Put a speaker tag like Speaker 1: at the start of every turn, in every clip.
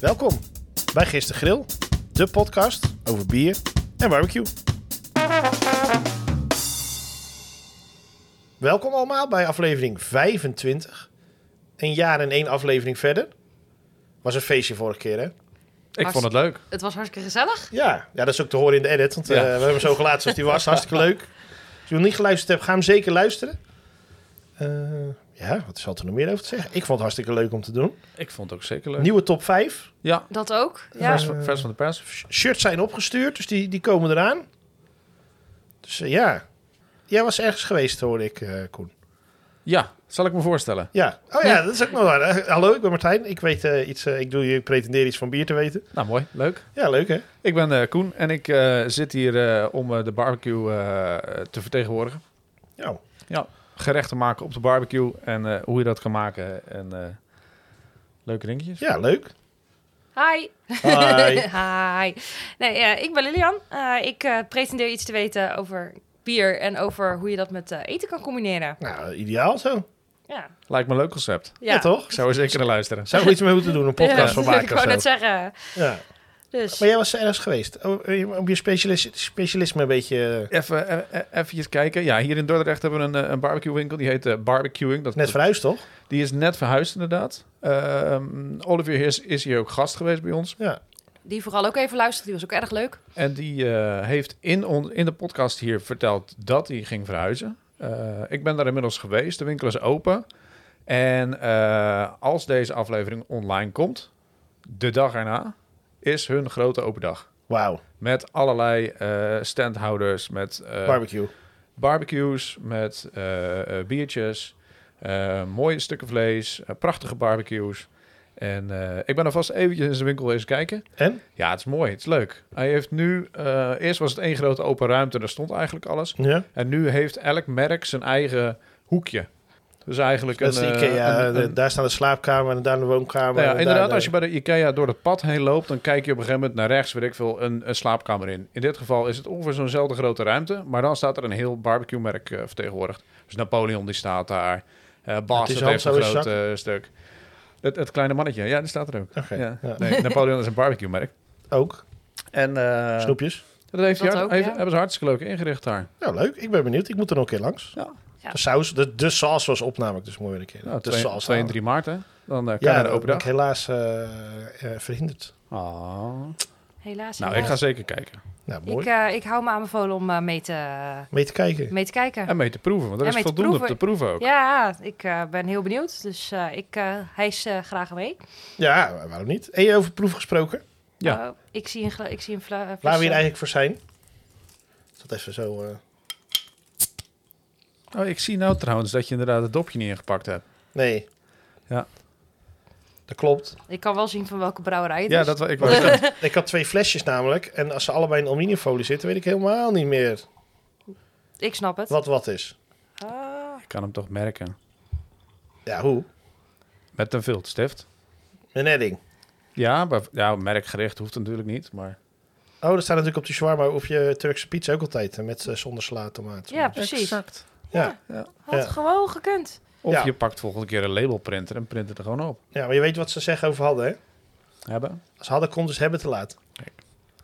Speaker 1: Welkom bij Gisteren Grill, de podcast over bier en barbecue. Welkom allemaal bij aflevering 25. Een jaar en één aflevering verder. Was een feestje vorige keer, hè?
Speaker 2: Ik vond het leuk.
Speaker 3: Het was hartstikke gezellig.
Speaker 1: Ja, ja dat is ook te horen in de edit, want eh,
Speaker 2: Ja.
Speaker 1: we hebben hem zo gelaten zoals die was. Hartstikke leuk. Als je nog niet geluisterd hebt, ga hem zeker luisteren. Eh, ja, wat zal er nog meer over te zeggen? Ik vond het hartstikke leuk om te doen.
Speaker 2: Ik vond het ook zeker leuk.
Speaker 1: Nieuwe top 5.
Speaker 2: Ja,
Speaker 3: Dat ook. Ja.
Speaker 2: vers, vers van de pers.
Speaker 1: shirts zijn opgestuurd, dus die, die komen eraan. Dus eh, ja. Jij was ergens geweest, hoorde ik, eh, Koen.
Speaker 2: Ja, zal ik me voorstellen.
Speaker 1: Ja. Oh ja, dat is ook nog waar. Eh, hallo, ik ben Martijn. Ik weet eh, iets, eh, ik doe je pretendeer iets van bier te weten.
Speaker 2: Nou, mooi. Leuk.
Speaker 1: Ja, leuk hè?
Speaker 2: Ik ben eh, Koen en ik eh, zit hier eh, om eh, de barbecue eh, eh, te vertegenwoordigen.
Speaker 1: Nou,
Speaker 2: Gerechten maken op de barbecue en eh, hoe je dat kan maken. En eh, leuke dingetjes.
Speaker 1: ja, leuk.
Speaker 3: Hi.
Speaker 1: Hi.
Speaker 3: Hi. Nee, eh, ik ben Lilian. Eh, ik eh, pretendeer iets te weten over bier en over hoe je dat met eh, eten kan combineren.
Speaker 1: Nou, ideaal zo.
Speaker 3: Ja.
Speaker 2: Lijkt me een leuk concept.
Speaker 1: Ja, toch?
Speaker 2: Ik zou er zeker naar luisteren.
Speaker 1: Zou we iets mee moeten doen, een podcast van
Speaker 3: Ja, Ik
Speaker 1: maken
Speaker 3: wou
Speaker 1: of
Speaker 3: net
Speaker 1: zo.
Speaker 3: zeggen.
Speaker 1: Ja.
Speaker 3: Dus
Speaker 1: Maar jij was ergens geweest. Oh, eh, Om je specialis- specialisme een beetje... eh,
Speaker 2: Even, eh, eh, eventjes kijken. Ja, hier in Dordrecht hebben we een, eh, een barbecue winkel. Die heet eh, Barbecuing. Dat,
Speaker 1: Net verhuisd, toch?
Speaker 2: Die is net verhuisd inderdaad. Ehm, Olivier is, is hier ook gast geweest bij ons.
Speaker 1: Ja.
Speaker 3: die vooral ook even luisteren. Die was ook erg leuk.
Speaker 2: En die eh, heeft in, on- in de podcast hier verteld dat hij ging verhuizen. Eh, ik ben daar inmiddels geweest. De winkel is open. En eh, als deze aflevering online komt, de dag erna, is hun grote open dag.
Speaker 1: Wauw.
Speaker 2: Met allerlei eh, standhouders, met eh,
Speaker 1: Barbecue.
Speaker 2: barbecues, met eh, eh, biertjes, eh, mooie stukken vlees, eh, prachtige barbecues. En eh, ik ben alvast eventjes in zijn winkel eens kijken.
Speaker 1: En?
Speaker 2: Ja, het is mooi. Het is leuk. Hij heeft nu... eh, eerst was het één grote open ruimte. Daar stond eigenlijk alles.
Speaker 1: Ja.
Speaker 2: En nu heeft elk merk zijn eigen hoekje. Dus eigenlijk
Speaker 1: Dat is de
Speaker 2: een... eh,
Speaker 1: Ikea.
Speaker 2: een-
Speaker 1: de-
Speaker 2: een-
Speaker 1: daar staan de slaapkamer en daar de woonkamer.
Speaker 2: nou
Speaker 1: en
Speaker 2: ja,
Speaker 1: daar
Speaker 2: inderdaad,
Speaker 1: de-
Speaker 2: als je bij de Ikea door het pad heen loopt... dan kijk je op een gegeven moment naar rechts, weet ik veel, een, een slaapkamer in. In dit geval is het ongeveer zo'nzelfde grote ruimte... maar dan staat er een heel barbecue-merk eh, vertegenwoordigd. Dus Napoleon, die staat daar. Eh
Speaker 1: is
Speaker 2: Bastard
Speaker 1: Hans
Speaker 2: heeft een
Speaker 1: Oude
Speaker 2: groot eh, stuk. Het, het kleine mannetje, ja, die staat er ook.
Speaker 1: Oké,
Speaker 2: Ja.
Speaker 1: ja.
Speaker 2: Nee, Napoleon is een barbecue-merk.
Speaker 1: Ook.
Speaker 2: En eh,
Speaker 1: Snoepjes.
Speaker 2: Dat heeft
Speaker 3: Dat
Speaker 2: hij hard-
Speaker 3: ook,
Speaker 2: heeft-
Speaker 3: ja.
Speaker 2: hebben ze hartstikke leuk ingericht daar.
Speaker 1: Nou, leuk. Ik ben benieuwd. Ik moet er nog een keer langs.
Speaker 2: Ja.
Speaker 3: Ja.
Speaker 1: De saus, de, de saus was op namelijk, dus moet weer een keer.
Speaker 2: Nou,
Speaker 1: de
Speaker 2: 2,
Speaker 1: saus.
Speaker 2: 2 en 3 maart, hè? Dan eh, kan je
Speaker 1: eh, Ja,
Speaker 2: naar de
Speaker 1: dat
Speaker 2: open
Speaker 1: ben ik
Speaker 2: dag.
Speaker 1: helaas eh, eh, verhinderd.
Speaker 2: Ah.
Speaker 3: Helaas.
Speaker 2: Nou, ik
Speaker 3: helaas.
Speaker 2: ga zeker kijken.
Speaker 1: Nou, mooi.
Speaker 3: ik, eh, ik hou me aanbevolen om eh, mee, te,
Speaker 1: Mee te kijken.
Speaker 3: mee te kijken.
Speaker 2: En mee te proeven, want er
Speaker 3: En
Speaker 2: is
Speaker 3: mee te
Speaker 2: voldoende op te
Speaker 3: proeven.
Speaker 2: proeven ook.
Speaker 3: Ja, ik eh, ben heel benieuwd. Dus eh, ik eh hijs eh, graag mee.
Speaker 1: Ja, waarom niet? En je over proef gesproken?
Speaker 2: Ja.
Speaker 3: Oh, ik zie een, gla- ik zie een fla- eh,
Speaker 1: Waar we
Speaker 3: flesje.
Speaker 1: hier eigenlijk voor zijn? Is Dat even zo... eh,
Speaker 2: Oh, ik zie nou trouwens dat je inderdaad het dopje niet ingepakt hebt.
Speaker 1: Nee.
Speaker 2: Ja.
Speaker 1: Dat klopt.
Speaker 3: Ik kan wel zien van welke brouwerij het
Speaker 2: Ja,
Speaker 3: is.
Speaker 2: dat, wa- ik
Speaker 1: Maar
Speaker 2: was...
Speaker 1: ik, had, ik had twee flesjes namelijk. En als ze allebei in aluminiumfolie zitten, weet ik helemaal niet meer
Speaker 3: Ik snap het.
Speaker 1: wat wat is.
Speaker 3: Ah,
Speaker 2: ik kan hem toch merken.
Speaker 1: Ja, hoe?
Speaker 2: Met een viltstift.
Speaker 1: Een edding.
Speaker 2: Ja, maar, ja, merkgericht hoeft natuurlijk niet, maar...
Speaker 1: Oh, dat staat natuurlijk op die shawarma of je Turkse pizza ook altijd. hè, Met eh, zonder sla, tomaat.
Speaker 3: ja, precies.
Speaker 2: Exact.
Speaker 1: ja.
Speaker 3: Had
Speaker 1: Ja.
Speaker 3: gewoon gekund.
Speaker 2: Of
Speaker 1: Ja.
Speaker 2: je pakt volgende keer een labelprinter en print het er gewoon op.
Speaker 1: Ja, maar je weet wat ze zeggen over hadden, hè?
Speaker 2: Hebben.
Speaker 1: Als hadden komt, dus hebben te laat.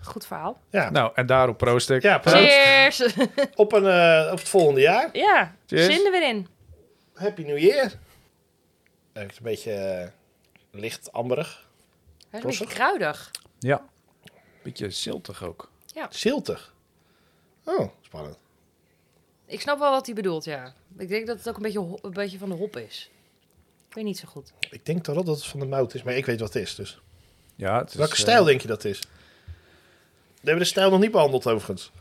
Speaker 3: Goed verhaal.
Speaker 1: Ja,
Speaker 2: Nou, en daarop proost ik.
Speaker 1: ja proost.
Speaker 3: Cheers!
Speaker 1: Op, een, eh, op het volgende jaar.
Speaker 3: ja,
Speaker 2: Cheers.
Speaker 3: zin er weer in.
Speaker 1: Happy New Year. Eh, Het is een beetje eh, licht amberig.
Speaker 3: Hij is een
Speaker 1: Rossig.
Speaker 3: beetje kruidig.
Speaker 2: Ja. Beetje ziltig ook.
Speaker 1: Ziltig. Oh, spannend.
Speaker 3: Ik snap wel wat hij bedoelt, ja. Ik denk dat het ook een beetje, ho- een beetje van de hop is. Ik weet niet zo goed.
Speaker 1: Ik denk toch wel dat het van de mout is, maar ik weet wat het is. Dus.
Speaker 2: Ja, het is,
Speaker 1: Welke
Speaker 2: eh,
Speaker 1: stijl denk je dat het is? We hebben de stijl nog niet behandeld, overigens.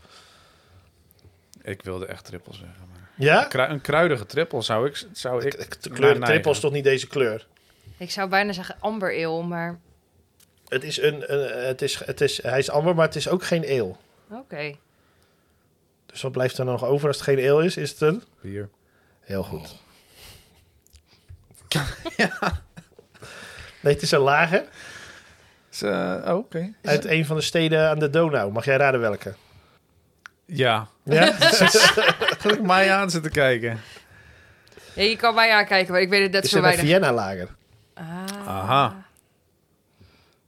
Speaker 2: Ik wilde echt trippel zeggen, maar...
Speaker 1: Ja?
Speaker 2: Krui- een kruidige trippel zou ik, zou ik
Speaker 1: Ik, de kleur
Speaker 2: naar
Speaker 1: de
Speaker 2: neigen.
Speaker 1: trippel is toch niet deze kleur?
Speaker 3: Ik zou bijna zeggen amber ale, maar
Speaker 1: Het is een, een- het is, het is, hij is amber, maar het is ook geen eel.
Speaker 3: oké.
Speaker 1: Dus wat blijft er dan nog over als het geen eel is? Is het een...
Speaker 2: bier.
Speaker 1: Heel goed.
Speaker 2: Oh.
Speaker 1: Nee, het is een lage
Speaker 2: Is, eh, oh, Oké.
Speaker 1: uit een van de steden aan de Donau. Mag jij raden welke?
Speaker 2: Ja.
Speaker 1: Ja?
Speaker 2: Gelukkig mij aan zitten kijken.
Speaker 3: Ja, je kan mij aankijken, maar ik weet het net
Speaker 1: is
Speaker 3: zo
Speaker 1: het een
Speaker 3: weinig.
Speaker 1: Vienna lager.
Speaker 3: Ah,
Speaker 2: Aha.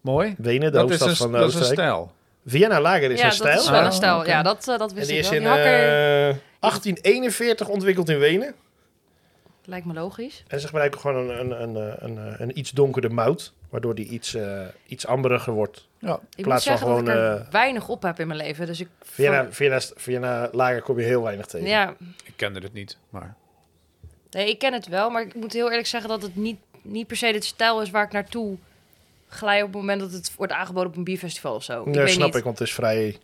Speaker 2: Mooi.
Speaker 1: Wenen, de
Speaker 2: Dat is
Speaker 1: hoofdstad
Speaker 2: een,
Speaker 1: van eh,
Speaker 2: dat is een
Speaker 1: Oostenrijk.
Speaker 2: stijl.
Speaker 1: Vienna Lager is
Speaker 3: ja,
Speaker 1: een
Speaker 3: dat
Speaker 1: stijl.
Speaker 3: is wel
Speaker 2: Ah,
Speaker 3: een stijl.
Speaker 2: oké.
Speaker 3: Ja, dat, eh, dat
Speaker 1: En
Speaker 3: wist
Speaker 1: die
Speaker 3: ik
Speaker 1: is
Speaker 3: wel.
Speaker 1: in
Speaker 3: Die hakker
Speaker 1: eh, 1841 ontwikkeld in Wenen.
Speaker 3: lijkt me logisch.
Speaker 1: En ze gebruiken gewoon een, een, een, eh, een, eh, een iets donkerder mout, waardoor die iets, eh, iets amberiger wordt.
Speaker 2: Ja.
Speaker 3: Ik moet
Speaker 1: plaats van
Speaker 3: zeggen dat ik
Speaker 1: gewoon,
Speaker 3: er
Speaker 1: eh,
Speaker 3: weinig op heb in mijn leven. Dus ik...
Speaker 1: Vienna, Vienna, Vienna Lager kom je heel weinig tegen.
Speaker 3: Ja,
Speaker 2: Ik kende het niet, maar...
Speaker 3: nee, ik ken het wel. Maar ik moet heel eerlijk zeggen dat het niet, niet per se de stijl is waar ik naartoe glij op het moment dat het wordt aangeboden op een bierfestival of zo. Ik
Speaker 1: Ja,
Speaker 3: weet
Speaker 1: snap
Speaker 3: niet.
Speaker 1: ik, want het is vrij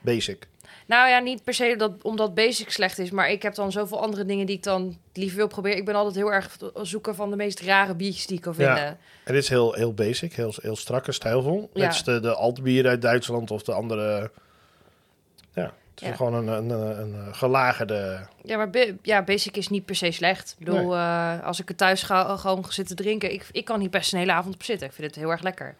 Speaker 1: basic.
Speaker 3: Nou ja, niet per se dat, omdat basic slecht is. Maar ik heb dan zoveel andere dingen die ik dan liever wil proberen. Ik ben altijd heel erg zoeken van de meest rare biertjes die ik kan
Speaker 1: Ja.
Speaker 3: vinden.
Speaker 1: Het is heel, heel basic, heel, heel strak en stijlvol.
Speaker 3: Ja.
Speaker 1: Net als de, de altbier uit Duitsland of de andere... Ja, het is
Speaker 3: Ja.
Speaker 1: gewoon een, een, een, een gelagerde...
Speaker 3: Ja, maar ba- ja, basic is niet per se slecht. Ik bedoel, eh, als ik het thuis ga, gewoon zitten drinken... Ik, ik kan hier best een hele avond op zitten. Ik vind het heel erg lekker.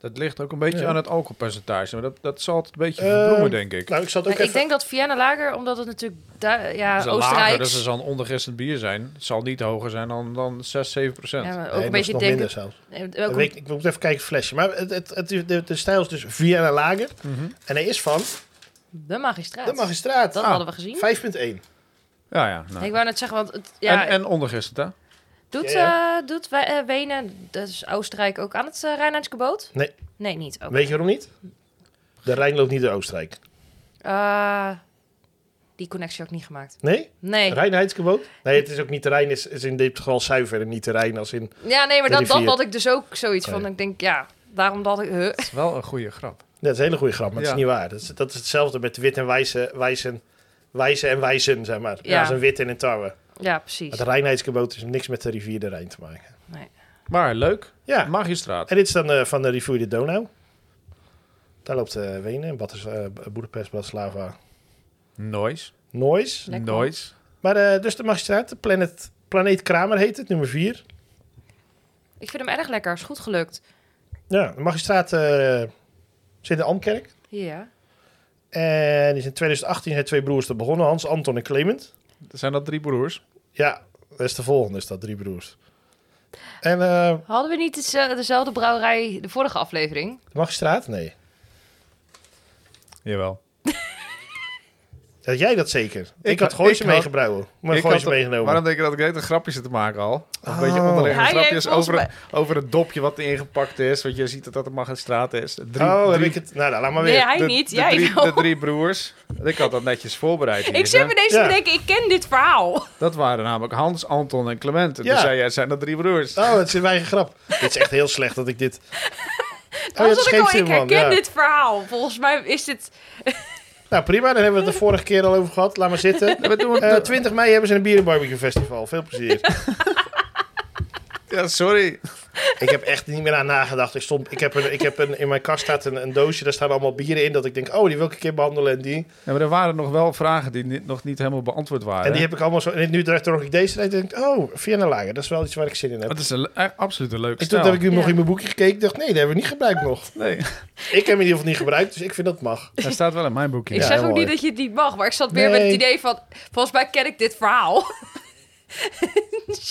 Speaker 2: Dat ligt ook een beetje
Speaker 1: Ja.
Speaker 2: aan het alcoholpercentage. Maar dat, dat zal het een beetje
Speaker 1: Eh,
Speaker 2: verbloemen, denk ik.
Speaker 1: Nou, ik zat ook
Speaker 3: Maar
Speaker 1: even...
Speaker 3: Ik denk dat Vienna Lager, omdat het natuurlijk du- ja,
Speaker 2: Dus een
Speaker 3: Oostenrijk...
Speaker 2: lager, dus er zal een ondergistend bier zijn. Het zal niet hoger zijn dan, dan 6, 7 procent.
Speaker 3: ja, maar
Speaker 1: Nee,
Speaker 3: ook een
Speaker 1: dat is
Speaker 3: beetje
Speaker 1: nog
Speaker 3: denken...
Speaker 1: minder zelfs.
Speaker 3: eh, ook
Speaker 1: Ik
Speaker 3: een-
Speaker 1: weet- ik moet even kijken het flesje. Maar het, het, het, de, de stijl is dus Vienna Lager.
Speaker 2: Mhm.
Speaker 1: En hij is van
Speaker 3: de magistraat.
Speaker 1: de magistraat.
Speaker 3: Dat
Speaker 2: Ah,
Speaker 3: hadden we gezien.
Speaker 1: 5.1.
Speaker 2: ja, ja, nou.
Speaker 3: Ik wou net zeggen, want het, ja,
Speaker 2: en, en ondergistend, hè?
Speaker 3: doet,
Speaker 1: Ja.
Speaker 3: eh, doet wij, eh, Wenen, dus Oostenrijk, ook aan het eh, Rijnlandse geboot?
Speaker 1: Nee.
Speaker 3: Nee, niet. Oké.
Speaker 1: Weet je waarom niet? De Rijn loopt niet door Oostenrijk.
Speaker 3: Eh, die connectie ook niet gemaakt.
Speaker 1: Nee?
Speaker 3: Nee.
Speaker 1: Rijnheidsgeboot? Nee, het is ook niet de Rijn. Is, is in dit geval zuiver en niet de Rijn als in...
Speaker 3: Ja, nee, maar
Speaker 1: De
Speaker 3: dat, dat
Speaker 1: rivier.
Speaker 3: had ik dus ook zoiets van.
Speaker 1: Nee.
Speaker 3: Ik denk, ja, daarom dat ik... huh.
Speaker 2: Dat is wel een goede grap.
Speaker 1: Dat is een hele goede grap, maar het
Speaker 2: Ja.
Speaker 1: is niet waar. Dat is, dat is hetzelfde met wit en wijze, wijzen, wijzen en wijzen, zeg maar.
Speaker 3: Ja.
Speaker 1: Ja. Als een wit en een tarwe.
Speaker 3: Ja, precies.
Speaker 1: Het reinheidsgebod is niks met de rivier de Rijn te maken.
Speaker 2: Maar leuk.
Speaker 1: Ja,
Speaker 2: Magistraat.
Speaker 1: en dit is dan eh, van de rivier de Donau. Daar loopt eh, Wenen, Batis, eh Boedapest, Bratislava,
Speaker 2: Nooit.
Speaker 1: Nois.
Speaker 3: Lekker.
Speaker 2: Nooit.
Speaker 1: Maar eh, dus de magistraat, de planet, planeet Kramer heet het, nummer 4.
Speaker 3: Ik vind hem erg lekker. Is goed gelukt.
Speaker 1: Ja, de magistraat eh, zit in Amkerk.
Speaker 3: Ja.
Speaker 1: En is in 2018 zijn twee broers te begonnen, Hans, Anton en Clement.
Speaker 2: Zijn dat drie broers?
Speaker 1: Ja, dat is de volgende, is dat, drie broers. En eh,
Speaker 3: Hadden we niet eens, eh, dezelfde brouwerij de vorige aflevering?
Speaker 1: de magistraat? Nee.
Speaker 2: Jawel.
Speaker 1: Dat jij dat zeker? Ik,
Speaker 2: Ik
Speaker 1: had
Speaker 2: ha-
Speaker 1: Gooise
Speaker 2: ik
Speaker 1: mee
Speaker 2: had-
Speaker 1: gebrouwen. Maar
Speaker 2: Ik
Speaker 1: Gooise
Speaker 2: had-
Speaker 1: meegenomen.
Speaker 2: Waarom denk je dat ik weet een grapje zit te maken al? Een
Speaker 1: Oh.
Speaker 2: beetje onderliggende
Speaker 3: Hij heeft
Speaker 2: grapjes
Speaker 3: volgens
Speaker 2: over, over het dopje wat ingepakt is. Want je ziet dat dat de magistraat is. De Drie,
Speaker 1: oh, heb
Speaker 2: drie-
Speaker 1: ik het... Nou, dan laat maar weer.
Speaker 3: Nee, hij
Speaker 2: de-
Speaker 3: niet.
Speaker 2: de
Speaker 3: jij
Speaker 2: drie,
Speaker 3: wel.
Speaker 2: De drie broers. Ik had dat netjes voorbereid. hier,
Speaker 3: Ik zit
Speaker 2: hè?
Speaker 3: me deze
Speaker 1: Ja.
Speaker 3: te denken, ik ken dit verhaal.
Speaker 2: Dat waren namelijk Hans, Anton en Clement. En
Speaker 1: Ja.
Speaker 2: toen zei jij, zijn dat drie broers?
Speaker 1: Oh, het is een eigen grap. dit is echt heel slecht dat ik dit... Oh, ja,
Speaker 3: Dat
Speaker 1: het
Speaker 3: was
Speaker 1: is
Speaker 3: ik al, ik
Speaker 1: Scheepstimmerman,
Speaker 3: herken
Speaker 1: ja.
Speaker 3: dit verhaal. Volgens mij is dit...
Speaker 1: Nou, prima. Daar hebben we het de vorige keer al over gehad. Laat maar zitten.
Speaker 2: We doen het-
Speaker 1: Eh 20 mei hebben ze een bier en barbecue festival. Veel plezier.
Speaker 2: ja, sorry.
Speaker 1: ik heb echt niet meer aan nagedacht. Ik, stond, ik heb, een, ik heb een, in mijn kast staat een, een doosje. Daar staan allemaal bieren in. Dat ik denk, oh, die wil ik een keer behandelen en die.
Speaker 2: Ja, maar er waren nog wel vragen die niet- nog niet helemaal beantwoord waren.
Speaker 1: En die heb ik allemaal zo... En nu draag ik ik deze. En denk ik, oh, Vienna Lager. Dat is wel iets waar ik zin in heb.
Speaker 2: Dat is een, le- absoluut een leuk
Speaker 1: En toen heb ik nu
Speaker 3: Ja.
Speaker 1: nog in mijn boekje gekeken. Ik dacht, nee, dat hebben we niet gebruikt nog.
Speaker 2: Nee,
Speaker 1: Ik heb hem in ieder geval niet gebruikt, dus ik vind dat mag.
Speaker 2: hij staat wel in mijn boekje.
Speaker 3: Ik
Speaker 1: Ja,
Speaker 3: zeg ook
Speaker 1: heel
Speaker 3: niet
Speaker 1: mooi.
Speaker 3: dat je het niet mag, maar ik zat weer met
Speaker 1: Nee.
Speaker 3: het idee van... Volgens mij ken ik dit verhaal.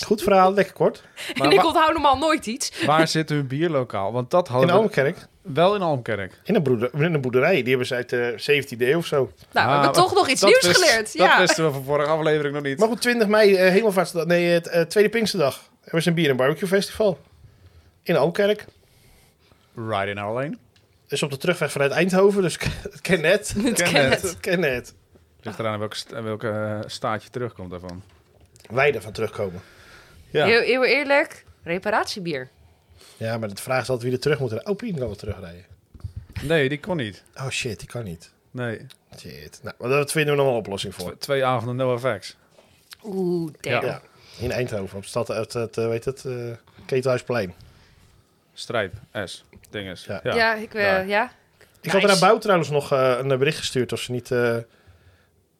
Speaker 1: Goed verhaal, lekker kort.
Speaker 2: Maar
Speaker 3: en ik
Speaker 2: wa-
Speaker 3: onthoud normaal nooit iets.
Speaker 2: waar zit hun bierlokaal? Want Oh, dat
Speaker 1: In
Speaker 2: hadden we
Speaker 1: Almkerk,
Speaker 2: wel in Almkerk.
Speaker 1: in een, broeder, in een boerderij. Die hebben ze uit de 17e eeuw of zo.
Speaker 3: Nou, we
Speaker 2: Ah,
Speaker 3: hebben toch nog iets nieuws
Speaker 2: wist-
Speaker 3: geleerd.
Speaker 2: Dat
Speaker 3: Ja.
Speaker 2: wisten we van vorige aflevering nog niet.
Speaker 1: Maar goed, 20 mei, eh, Hemelvaartsdag, nee, het eh, Tweede Pinksterdag. Er was een bier- en barbecue festival. In Almkerk.
Speaker 2: Right in our lane.
Speaker 1: Dus op de terugweg vanuit Eindhoven, dus het ken net.
Speaker 2: Ken
Speaker 3: ken
Speaker 2: het.
Speaker 3: het.
Speaker 1: Het ken net.
Speaker 2: Ligt eraan welke, st- welke eh, staat je terugkomt daarvan.
Speaker 1: Wij ervan terugkomen.
Speaker 2: Ja.
Speaker 3: Heel, heel eerlijk, reparatiebier.
Speaker 1: Ja, maar de vraag is altijd wie er terug moet. rijden. Oh, Pien kan wel terugrijden.
Speaker 2: Nee, die kon niet.
Speaker 1: Oh shit, die kan niet.
Speaker 2: Nee,
Speaker 1: Shit. Nou, maar daar vinden we nog wel een oplossing voor.
Speaker 2: Tw- twee avonden no effects.
Speaker 3: Oeh, damn.
Speaker 1: Ja. In Eindhoven, op stad, het, het, eh, weet het, eh, Ketelhuisplein.
Speaker 2: Strijp, S, dinges.
Speaker 1: Ja.
Speaker 3: Ja, ik, eh,
Speaker 2: daar.
Speaker 3: ja.
Speaker 1: Ik had er
Speaker 3: Nice.
Speaker 1: aan Bouw trouwens nog eh, een bericht gestuurd of ze niet... eh, eh,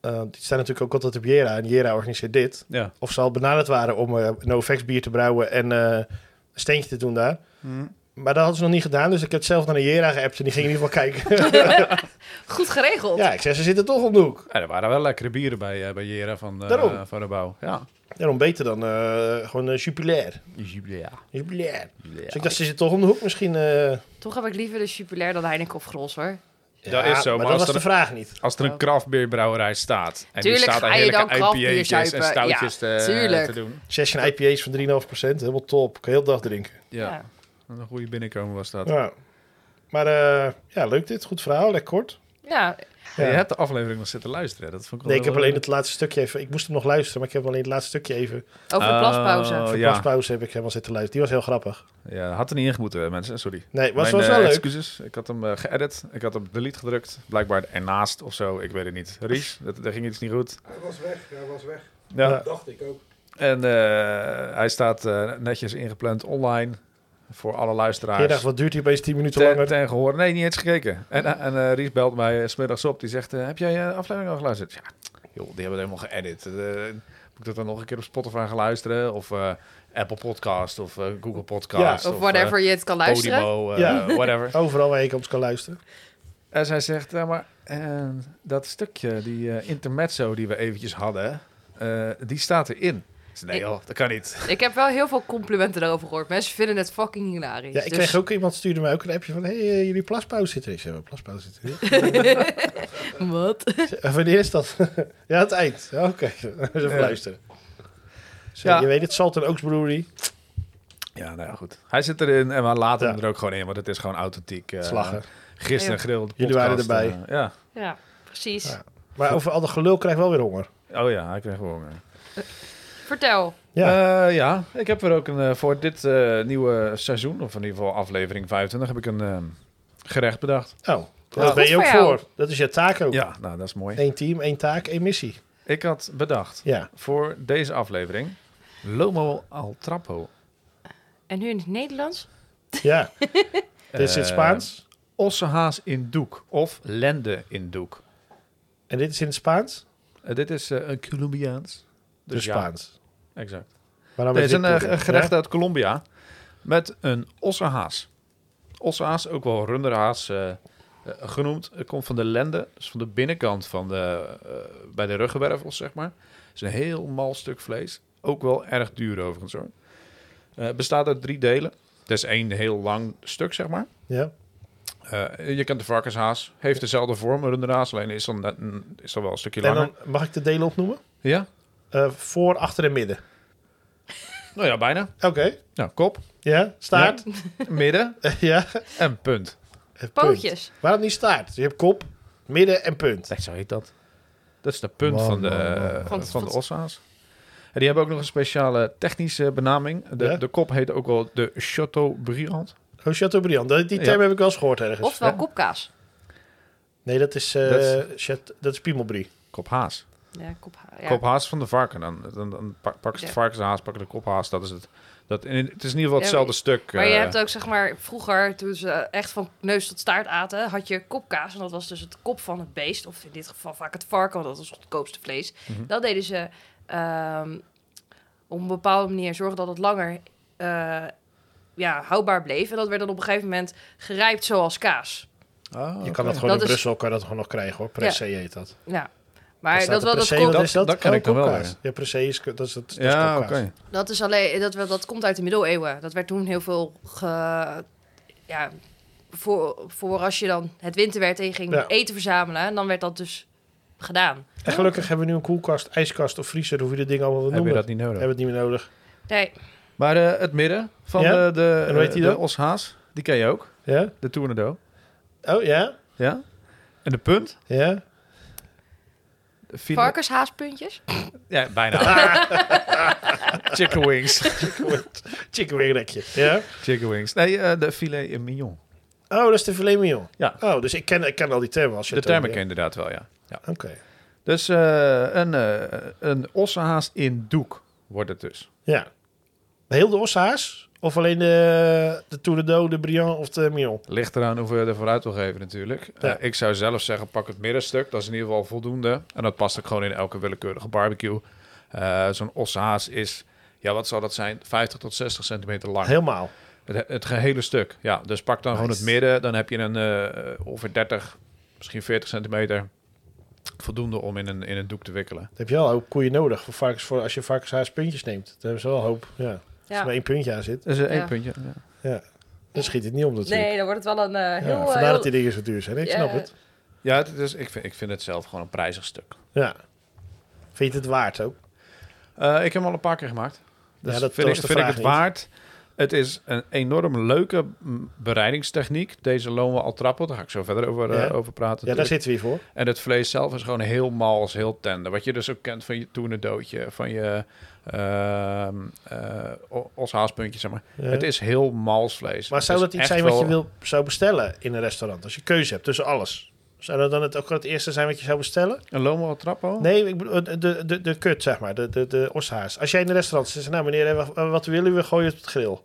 Speaker 1: die staan natuurlijk ook altijd op Jera en Jera organiseert dit.
Speaker 2: ja.
Speaker 1: Of ze al benaderd waren om eh NoFX bier te brouwen en eh, een steentje te doen daar.
Speaker 2: Hm.
Speaker 1: Maar dat hadden ze nog niet gedaan, dus ik heb het zelf naar de Jera geappt en die ging in ieder geval kijken.
Speaker 3: Goed geregeld.
Speaker 1: ja, ik zei, ze zitten toch op de hoek.
Speaker 2: Ja, er waren wel lekkere bieren bij, eh bij Jera van, eh,
Speaker 1: Daarom.
Speaker 2: van de bouw. Ja.
Speaker 1: Daarom beter dan eh, gewoon eh, Jupiler.
Speaker 2: Ja.
Speaker 1: Jupiler. Dus ik dacht, ze zitten toch om de hoek misschien. eh.
Speaker 3: Toch heb ik liever de Jupiler dan Heineken of Grols hoor.
Speaker 2: Dat is zo, maar
Speaker 1: maar,
Speaker 2: als
Speaker 1: dat was
Speaker 2: er-
Speaker 1: de vraag niet.
Speaker 2: Als er een kraftbeerbrouwerij staat. En
Speaker 3: Tuurlijk
Speaker 2: die staat aan
Speaker 3: ga je
Speaker 2: heerlijke
Speaker 3: dan craft bier
Speaker 2: IPA'tjes en
Speaker 3: zuipen.
Speaker 2: stoutjes
Speaker 3: Ja,
Speaker 2: te, eh,
Speaker 3: tuurlijk.
Speaker 2: te doen.
Speaker 1: Session IPA's van 3,5%, helemaal top. Kan heel de dag drinken.
Speaker 2: Ja.
Speaker 3: Ja.
Speaker 2: Een goede binnenkomen was dat.
Speaker 1: Ja. Maar eh, ja, leuk dit. Goed verhaal, lekker kort.
Speaker 3: Ja,
Speaker 1: Ja.
Speaker 2: Je hebt de aflevering nog zitten luisteren. hè? Dat vond ik wel
Speaker 1: Nee, ik heb
Speaker 2: wel-
Speaker 1: alleen het laatste stukje even... Ik moest hem nog luisteren, maar ik heb alleen het laatste stukje even... Ah,
Speaker 3: over de
Speaker 2: Oh,
Speaker 3: plaspauze.
Speaker 2: ja.
Speaker 1: voor
Speaker 2: ja.
Speaker 1: pauze heb ik helemaal zitten luisteren. Die was heel grappig.
Speaker 2: ja, had er niet in gemoeten, mensen. Sorry.
Speaker 1: Nee, was,
Speaker 2: Mijn,
Speaker 1: was
Speaker 2: eh,
Speaker 1: wel leuk.
Speaker 2: Excuses. Ik had hem eh, geëdit. Ik had op delete gedrukt. Blijkbaar ernaast of zo. Ik weet het niet. Ries, dat, daar ging iets niet goed.
Speaker 4: Hij was weg, hij was weg.
Speaker 2: Ja.
Speaker 1: Ja.
Speaker 4: Dacht ik ook.
Speaker 2: En eh, hij staat eh, netjes ingepland online. Voor alle luisteraars.
Speaker 1: Je dacht, wat duurt hier opeens 10 minuten
Speaker 2: Ten,
Speaker 1: langer?
Speaker 2: ten gehoor. Nee, niet eens gekeken. En, en eh, Ries belt mij eh, 's middags op. Die zegt, eh, heb jij eh, de aflevering al geluisterd? Ja, joh, die hebben het helemaal geëdit. Eh, moet ik dat dan nog een keer op Spotify gaan luisteren? Of eh, Apple Podcast of eh, Google Podcast?
Speaker 3: Of whatever je het kan
Speaker 2: eh,
Speaker 3: luisteren.
Speaker 2: Podimo, eh,
Speaker 1: Ja.
Speaker 2: whatever.
Speaker 1: Overal waar ik ons kan luisteren.
Speaker 2: En zij zegt, ja, maar eh, dat stukje, die eh, intermezzo die we eventjes hadden, eh, die staat erin. Ik zei, nee joh, dat kan niet.
Speaker 3: Ik heb wel heel veel complimenten erover gehoord. Mensen vinden het fucking hilarisch.
Speaker 1: Ja, ik
Speaker 3: Dus
Speaker 1: kreeg ook... Iemand stuurde mij ook een appje van... Hé, hey, eh, jullie plaspauze zitten er. Ik zei, "Wat plaspauze zit er?
Speaker 3: Wat?
Speaker 1: Eh, Wanneer is dat? ja, het eind. Ja, Oké, even
Speaker 2: Ja.
Speaker 1: luisteren. Zo,
Speaker 2: Ja.
Speaker 1: Je weet het, Salt en Oaks Brewery.
Speaker 2: Ja, nou ja, goed. Hij zit erin en we laten
Speaker 1: Ja.
Speaker 2: hem er ook gewoon in, want het is gewoon authentiek. eh,
Speaker 1: Slagen.
Speaker 2: Gisteren
Speaker 3: Ja.
Speaker 2: grilde
Speaker 1: Jullie waren erbij.
Speaker 2: eh, ja.
Speaker 3: Ja, precies.
Speaker 1: Ja. Maar over al dat gelul krijg ik wel weer honger.
Speaker 2: Oh ja, ik kreeg gewoon. honger.
Speaker 3: Vertel.
Speaker 1: Ja,
Speaker 2: Eh, ja, ik heb er ook een eh, voor dit eh, nieuwe seizoen, of in ieder geval aflevering 25, heb ik een eh, gerecht bedacht.
Speaker 1: oh, daar ben
Speaker 3: Goed
Speaker 1: je ook
Speaker 3: voor jou.
Speaker 1: voor. Dat is je taak ook.
Speaker 2: Ja, nou dat is mooi.
Speaker 1: Eén team, één taak, één missie.
Speaker 2: Ik had bedacht
Speaker 1: Ja,
Speaker 2: voor deze aflevering Lomo al Trapo.
Speaker 3: En nu in het Nederlands?
Speaker 1: ja. Dit is in het
Speaker 2: Eh,
Speaker 1: Spaans.
Speaker 2: Ossehaas in doek of lende in doek.
Speaker 1: En dit is in het Spaans?
Speaker 2: Eh, dit is eh, een Colombiaans.
Speaker 1: Dus,
Speaker 2: ja,
Speaker 1: Spaans.
Speaker 2: exact.
Speaker 1: Maar dan
Speaker 2: Het
Speaker 1: met
Speaker 2: is een
Speaker 1: dit
Speaker 2: eh,
Speaker 1: doen.
Speaker 2: een gerecht
Speaker 1: Ja?
Speaker 2: uit Colombia met een ossehaas. Ossehaas, ook wel runderhaas eh, eh, genoemd, eh, komt van de lende, dus van de binnenkant van de, eh, bij de ruggenwervels, zeg maar. is een heel mal stuk vlees, ook wel erg duur overigens hoor. Eh, bestaat uit drie delen. Het is één heel lang stuk, zeg maar.
Speaker 1: Ja.
Speaker 2: Eh, je kent de varkenshaas, heeft dezelfde vorm, een runderhaas, alleen is dan, net een- is dan wel een stukje
Speaker 1: En
Speaker 2: langer.
Speaker 1: dan mag ik de delen opnoemen?
Speaker 2: Ja,
Speaker 1: Eh, voor, achter en midden.
Speaker 2: nou ja, bijna.
Speaker 1: Oké.
Speaker 2: Nou, kop,
Speaker 1: Ja, staart.
Speaker 2: midden
Speaker 1: Ja.
Speaker 2: en punt.
Speaker 1: En punt.
Speaker 3: Pootjes.
Speaker 1: Waarom niet staart? Dus je hebt kop, midden en punt.
Speaker 2: Nee, zo heet dat. Dat is de punt
Speaker 1: Man,
Speaker 2: van de,
Speaker 1: man, man.
Speaker 2: eh,
Speaker 3: Van-
Speaker 2: van de
Speaker 3: van-
Speaker 2: ossa's. En die hebben ook nog een speciale technische benaming. De,
Speaker 1: Ja?
Speaker 2: de kop heet ook wel de Chateaubriand.
Speaker 1: Oh, Chateaubriand. Dat- Die term
Speaker 2: Ja.
Speaker 1: heb ik wel eens gehoord ergens.
Speaker 3: Oftewel
Speaker 2: ja.
Speaker 3: kopkaas.
Speaker 1: Nee, dat is, eh
Speaker 2: Dat
Speaker 1: Chat- dat is Piemelbrie.
Speaker 2: Kophaas.
Speaker 3: Ja, kop, ja.
Speaker 2: Kophaas van de varken. Dan, dan, dan pak, pakken ze de
Speaker 3: Ja.
Speaker 2: varkenshaas, pakken de kophaas. Dat is het. Dat, en het is in ieder geval
Speaker 3: Ja,
Speaker 2: hetzelfde stuk.
Speaker 3: Maar je
Speaker 2: eh,
Speaker 3: hebt ook, zeg maar, vroeger, toen ze echt van neus tot staart aten, had je kopkaas. En dat was dus het kop van het beest. Of in dit geval vaak het varken, want dat was het goedkoopste vlees.
Speaker 2: Mhm.
Speaker 3: Dat deden ze ehm, op een bepaalde manier zorgen dat het langer eh, ja, houdbaar bleef. En dat werd dan op een gegeven moment gerijpt zoals kaas.
Speaker 2: Ah,
Speaker 1: Je
Speaker 2: oké.
Speaker 1: kan dat gewoon
Speaker 3: Dat
Speaker 1: in
Speaker 3: is-
Speaker 1: Brussel kan je dat gewoon nog krijgen hoor. Pressé heet dat.
Speaker 3: Ja.
Speaker 1: Daar
Speaker 3: Maar
Speaker 1: staat
Speaker 3: dat,
Speaker 1: de
Speaker 3: wel, dat,
Speaker 1: pressé,
Speaker 3: kop-
Speaker 1: wat is dat?
Speaker 2: Dat ken ik dan wel
Speaker 1: kopkaas.
Speaker 2: weer.
Speaker 1: Ja, pressé is dat is het.
Speaker 2: Ja, oké.
Speaker 3: dat, is alleen, dat, wel- dat komt uit de middeleeuwen. Dat werd toen heel veel ge, ja, voor, voor als je dan het winter werd en je ging
Speaker 1: Ja.
Speaker 3: eten verzamelen. En dan werd dat dus gedaan.
Speaker 1: En gelukkig hebben we nu een koelkast, ijskast of vriezer, hoe je dit ding allemaal wil
Speaker 2: Heb je
Speaker 1: noemen.
Speaker 2: dat niet nodig?
Speaker 1: Hebben we het niet meer nodig.
Speaker 3: Nee,
Speaker 2: Maar eh, het midden van
Speaker 1: Ja?
Speaker 2: de, de,
Speaker 1: En hoe heet die
Speaker 2: de
Speaker 1: dan?
Speaker 2: oshaas, die ken je ook.
Speaker 1: Ja?
Speaker 2: De Tornado.
Speaker 1: Oh ja?
Speaker 2: Ja. En de punt?
Speaker 1: Ja?
Speaker 2: De file-
Speaker 3: varkenshaaspuntjes.
Speaker 2: Ja, bijna. Chicken wings.
Speaker 1: Chicken wingrekje. Ja?
Speaker 2: Chicken wings. Nee, eh, de filet mignon.
Speaker 1: Oh, dat is de filet mignon.
Speaker 2: Ja.
Speaker 1: Oh, dus ik ken, ik ken al die termen. Als je
Speaker 2: De
Speaker 1: het
Speaker 2: term
Speaker 1: over-
Speaker 2: ken je inderdaad wel, ja.
Speaker 1: Oké.
Speaker 2: Dus eh, een, eh een ossehaas in doek wordt het dus.
Speaker 1: Ja. Heel de ossa's? Of alleen de, de Tournedo, de Briand of de mignon?
Speaker 2: Ligt eraan hoeveel je er vooruit wil geven natuurlijk.
Speaker 1: Ja.
Speaker 2: Eh, ik zou zelf zeggen, pak het middenstuk. Dat is in ieder geval voldoende. En dat past ook gewoon in elke willekeurige barbecue. Eh, Zo'n ossehaas is, ja wat zal dat zijn? 50 tot 60 centimeter lang.
Speaker 1: Helemaal.
Speaker 2: Het, het gehele stuk. Ja, dus pak dan gewoon het
Speaker 1: Nice.
Speaker 2: midden. Dan heb je een eh, over 30, misschien 40 centimeter voldoende om in een, in een doek te wikkelen.
Speaker 1: Dan heb je wel een hoop koeien nodig voor varkens, voor als je varkenshaas puntjes neemt. Dan hebben ze wel een hoop. Ja. Als
Speaker 3: Ja.
Speaker 1: er maar één puntje aan zit,
Speaker 2: Dat is een één
Speaker 3: Ja.
Speaker 2: puntje. Ja.
Speaker 1: dan schiet het niet om natuurlijk.
Speaker 3: Nee, dan wordt het wel een eh, heel...
Speaker 1: ja,
Speaker 3: eh,
Speaker 1: vandaar
Speaker 3: heel-
Speaker 1: dat die dingen zo duur zijn. Ik
Speaker 3: Ja.
Speaker 1: snap het.
Speaker 2: Ja, het is, ik, vind, ik vind het zelf gewoon een prijzig stuk.
Speaker 1: Ja. Vind je het het waard ook?
Speaker 2: Eh, ik heb hem al een paar keer gemaakt. Dus
Speaker 1: Ja, dat-
Speaker 2: vind,
Speaker 1: dat was
Speaker 2: ik,
Speaker 1: de
Speaker 2: vind ik
Speaker 1: vraag
Speaker 2: het
Speaker 1: niet.
Speaker 2: waard. Het is een enorm leuke mm, bereidingstechniek. Deze lonen al trappel. Daar ga ik zo verder over, eh,
Speaker 1: Ja.
Speaker 2: over praten.
Speaker 1: Ja, daar
Speaker 2: natuurlijk.
Speaker 1: zitten we hier voor.
Speaker 2: En het vlees zelf is gewoon heel mals, heel tender. Wat je dus ook kent van je toenerdootje, van je ehm eh, o- oshaaspuntje, zeg maar.
Speaker 1: Ja.
Speaker 2: Het is heel mals vlees.
Speaker 1: Maar
Speaker 2: Het
Speaker 1: zou
Speaker 2: is
Speaker 1: dat iets
Speaker 2: echt
Speaker 1: zijn wat je
Speaker 2: wel-
Speaker 1: wil, zou bestellen in een restaurant? Als je keuze hebt tussen alles. Zou dat dan het ook wel het eerste zijn wat je zou bestellen?
Speaker 2: Een lomo al trappo?
Speaker 1: Nee, ik bedoel, de, de, de, de kut, zeg maar. De, de, de oshaas. Als jij in een restaurant zit, nou meneer, eh, wa- wat willen we? Gooi het op het grill.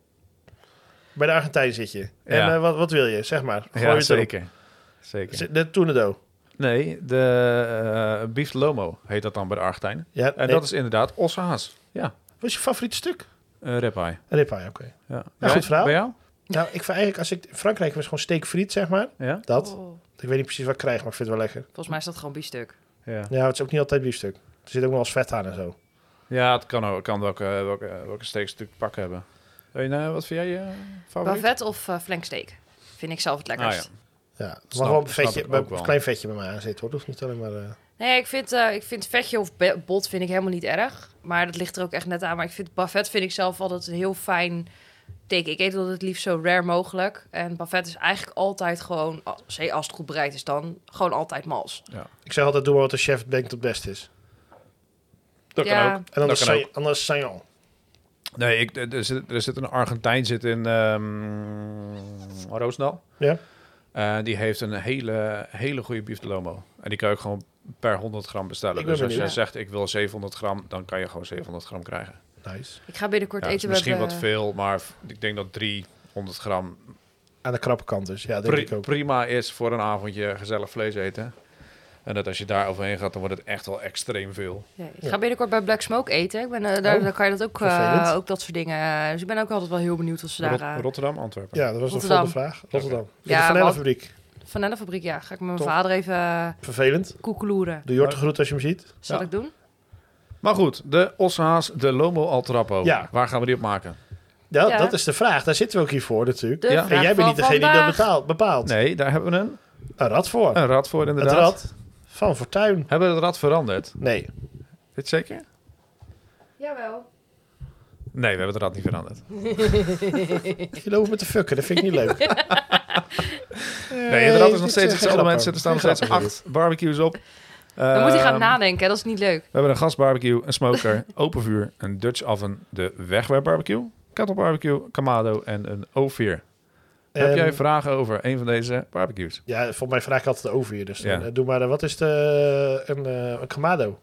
Speaker 1: Bij de Argentijn zit je. En
Speaker 2: Ja.
Speaker 1: eh, wat, wat wil je, zeg maar. Gooi
Speaker 2: ja,
Speaker 1: het erop.
Speaker 2: zeker. Zeker.
Speaker 1: Z- De toenado.
Speaker 2: Nee, de eh beef lomo heet dat dan bij de Argentijn.
Speaker 1: Ja,
Speaker 2: En dat is inderdaad ossehaas. Ja,
Speaker 1: Wat is je favoriete stuk?
Speaker 2: eh ribeye.
Speaker 1: Ribeye, oké.
Speaker 2: Ja.
Speaker 1: Ja,
Speaker 2: Jij?
Speaker 1: goed verhaal.
Speaker 2: Bij jou?
Speaker 1: Nou, ik vind eigenlijk, als ik in Frankrijk was, gewoon steekfriet, zeg maar.
Speaker 2: Ja?
Speaker 1: Dat.
Speaker 3: Oh,
Speaker 1: Ik weet niet precies wat ik krijg, maar ik vind het wel lekker.
Speaker 3: volgens mij is dat gewoon biefstuk.
Speaker 2: Ja,
Speaker 1: Ja, het is ook niet altijd biefstuk. Er zit ook nog wel eens vet aan en zo.
Speaker 2: ja het kan, ook, kan welke, welke, welke steekstuk te pakken hebben. Hey, nou, wat vind jij je favoriet?
Speaker 3: Bavet of eh, flanksteak? Vind ik zelf het lekkerst.
Speaker 2: Oh, Ah, ja.
Speaker 1: Ja, er
Speaker 2: Snap-
Speaker 1: mag wel een,
Speaker 2: snap
Speaker 1: vetje,
Speaker 2: ik ook
Speaker 1: een
Speaker 2: wel.
Speaker 1: klein vetje bij mij aan zitten, hoor. Dat hoeft niet alleen maar... eh,
Speaker 3: Nee, ik vind, eh, ik vind vetje of be- bot vind ik helemaal niet erg. Maar dat ligt er ook echt net aan. Maar ik vind buffet vind ik zelf altijd een heel fijn teken. Ik eet altijd het liefst zo rare mogelijk. En buffet is eigenlijk altijd gewoon, al- zee- als het goed bereid is dan, gewoon altijd mals.
Speaker 1: Ik zeg altijd, doe maar wat de chef denkt het best is.
Speaker 2: Dat
Speaker 3: Ja.
Speaker 2: kan ook.
Speaker 1: En anders,
Speaker 2: Dat kan
Speaker 1: sa- anders saignon.
Speaker 2: Nee, ik, er, zit, er zit een Argentijn zit in ehm Roosnal.
Speaker 1: Ja.
Speaker 2: Eh, die heeft een hele, hele goede bief de lomo. En die kan je ook gewoon per 100 gram bestellen.
Speaker 1: Ik ben
Speaker 2: dus als je
Speaker 1: benieuwd.
Speaker 2: zegt, ik wil 700 gram, dan kan je gewoon 700 gram krijgen.
Speaker 1: Nice.
Speaker 3: Ik ga binnenkort
Speaker 2: Ja, is
Speaker 3: eten
Speaker 2: misschien
Speaker 3: bij...
Speaker 2: wat veel, maar v- ik denk dat 300 gram
Speaker 1: Aan de krappe kant dus. Ja, denk
Speaker 2: pri-
Speaker 1: ik ook.
Speaker 2: prima is voor een avondje gezellig vlees eten. En dat als je daar overheen gaat, dan wordt het echt wel extreem veel.
Speaker 3: Ja, ik
Speaker 1: Ja.
Speaker 3: ga binnenkort bij Black Smoke eten. Ik ben, eh, daar,
Speaker 1: Oh,
Speaker 3: daar kan je dat ook, eh,
Speaker 1: vervelend.
Speaker 3: ook dat soort dingen. eh, Dus ik ben ook altijd wel heel benieuwd wat ze daar...
Speaker 2: Rot-
Speaker 3: eh,
Speaker 2: Rotterdam, Antwerpen.
Speaker 1: Ja, dat was de
Speaker 3: Rotterdam.
Speaker 1: volgende vraag. Rotterdam.
Speaker 3: Ja,
Speaker 1: Ja, de
Speaker 3: want-
Speaker 1: fabriek.
Speaker 3: Van de fabriek, ja. Ga ik met mijn
Speaker 1: Tof.
Speaker 3: vader even eh,
Speaker 1: Vervelend.
Speaker 3: koekeloeren.
Speaker 1: Doe Jort de groet als je hem ziet.
Speaker 3: Zal
Speaker 2: Ja.
Speaker 3: ik doen?
Speaker 2: Maar goed, de ossehaas, de lomo al trappo.
Speaker 1: Ja.
Speaker 2: Waar gaan we die op maken?
Speaker 1: Ja,
Speaker 3: Ja.
Speaker 1: dat is de vraag. Daar zitten we ook hier voor natuurlijk.
Speaker 3: De
Speaker 2: Ja.
Speaker 3: vraag
Speaker 1: En jij bent
Speaker 3: van
Speaker 1: niet degene die dat
Speaker 3: vandaag.
Speaker 1: betaalt, bepaalt.
Speaker 2: Nee, daar hebben we een,
Speaker 1: Een rad voor.
Speaker 2: een rad voor
Speaker 1: Het
Speaker 2: inderdaad.
Speaker 1: rad van Fortuin.
Speaker 2: Hebben we het rad veranderd?
Speaker 1: Nee.
Speaker 2: Dit zeker?
Speaker 3: Jawel.
Speaker 2: Nee, we hebben het rad niet veranderd.
Speaker 1: Je loopt met de fucken, dat vind ik niet leuk.
Speaker 2: Nee, het rad is nog
Speaker 1: dit
Speaker 2: steeds
Speaker 1: geen
Speaker 2: hetzelfde
Speaker 1: grap,
Speaker 2: mensen. Er staan nog
Speaker 1: Geen
Speaker 2: steeds
Speaker 1: grap is
Speaker 2: acht barbecues op.
Speaker 3: Dan moet hij gaan
Speaker 2: Ehm,
Speaker 3: nadenken, hè. dat is niet leuk.
Speaker 2: We hebben een gasbarbecue, een smoker, open vuur, een Dutch oven, de wegwerpbarbecue, kettlebarbecue, kamado en een O4.
Speaker 1: dit.
Speaker 2: Heb
Speaker 1: Ehm,
Speaker 2: jij vragen over een van deze barbecues?
Speaker 1: Ja, volgens mij vraag ik altijd de over hier. Dus dan,
Speaker 2: Ja.
Speaker 1: eh, doe maar, eh, wat is de, een, eh een kamado?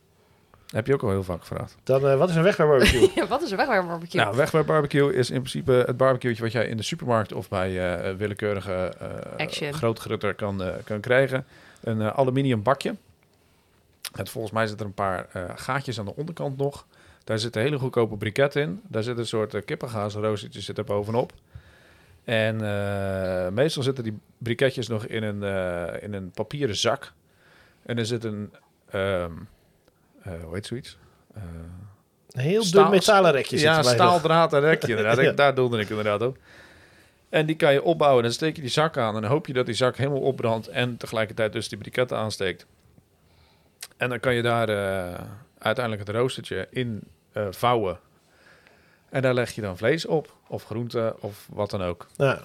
Speaker 2: Heb je ook al heel vaak gevraagd.
Speaker 1: Dan, eh, wat is een wegwerpbarbecue?
Speaker 3: Ja, wat is er weg bij een barbecue?
Speaker 2: Nou, wegwerpbarbecue is in principe het barbecueetje wat jij in de supermarkt of bij eh, willekeurige eh
Speaker 3: Action.
Speaker 2: grootgrutter kan, eh, kan krijgen. Een eh, aluminium bakje. Het, volgens mij zitten er een paar eh, gaatjes aan de onderkant nog. Daar zit een hele goedkope briket in. Daar zit een soort uh, kippengaasroostertje zit er bovenop. En eh, meestal zitten die briketjes nog in een, eh, in een papieren zak. En er zit een, ehm, eh, hoe heet zoiets? Eh,
Speaker 1: Een heel
Speaker 2: Staal-
Speaker 1: dun metalen rekje zit
Speaker 2: ja,
Speaker 1: erbij nog.
Speaker 2: staaldraad en rekje inderdaad.
Speaker 1: Ja.
Speaker 2: Ik- Daar doelde ik inderdaad op. En die kan je opbouwen. Dan steek je die zak aan en dan hoop je dat die zak helemaal opbrandt en tegelijkertijd dus die briketten aansteekt. En dan kan je daar eh, uiteindelijk het roostertje in eh, vouwen. En daar leg je dan vlees op, of groente, of wat dan ook.
Speaker 1: Ja.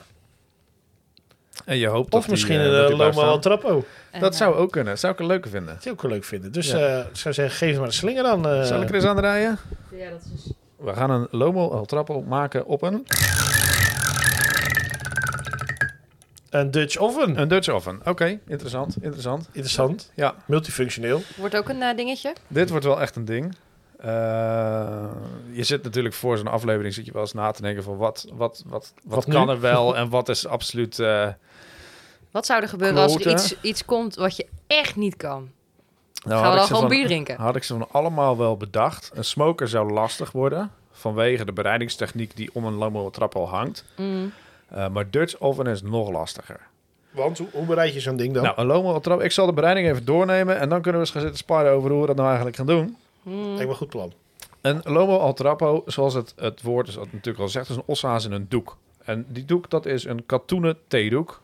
Speaker 2: En je hoopt dat
Speaker 1: Of
Speaker 2: die,
Speaker 1: misschien
Speaker 2: eh, dat
Speaker 1: een
Speaker 2: die
Speaker 1: uh,
Speaker 2: blijft
Speaker 1: Loma al
Speaker 2: staan.
Speaker 1: Trappo.
Speaker 3: En,
Speaker 2: Dat
Speaker 3: eh,
Speaker 2: zou ook kunnen. Zou ik een leuke vinden.
Speaker 1: Dat zou ik ook leuk vinden. Dus
Speaker 2: Ja.
Speaker 1: eh, ik zou zeggen, geef ze maar een slinger dan. eh.
Speaker 2: Zal ik er eens aan draaien?
Speaker 3: Ja, dat is... dus-
Speaker 2: We gaan een Lomo El Trappel maken op een...
Speaker 1: Een Dutch oven.
Speaker 2: Een Dutch oven. Oké, interessant, interessant.
Speaker 1: Interessant.
Speaker 2: Ja,
Speaker 1: Multifunctioneel.
Speaker 3: Wordt ook een eh, dingetje.
Speaker 2: Dit wordt wel echt een ding. Eh, je zit natuurlijk voor zo'n aflevering zit je wel eens na te denken van wat, wat, wat, wat,
Speaker 1: Wat nu?
Speaker 2: kan er wel en wat is absoluut. eh,
Speaker 3: Wat zou er gebeuren als er
Speaker 2: Kloten.
Speaker 3: iets, iets komt wat je echt niet kan?
Speaker 2: nou,
Speaker 3: Gaan
Speaker 2: had
Speaker 3: we
Speaker 2: ik
Speaker 3: dan
Speaker 2: ze
Speaker 3: gewoon
Speaker 2: van-
Speaker 3: bier drinken?
Speaker 2: Had ik ze van allemaal wel bedacht. Een smoker zou lastig worden vanwege de bereidingstechniek die om een lange trap al hangt.
Speaker 3: Mm.
Speaker 2: Eh, maar Dutch oven is nog lastiger.
Speaker 1: Want hoe, hoe bereid je zo'n ding dan?
Speaker 2: Nou, een lomo trap. Ik zal de bereiding even doornemen en dan kunnen we eens gaan zitten sparren over hoe we dat nou eigenlijk gaan doen.
Speaker 1: Lijkt me een goed plan.
Speaker 2: Een lomo al trappo, zoals het, het woord is, wat het natuurlijk al zegt, is een ossaas in een doek. En die doek, dat is een katoenen theedoek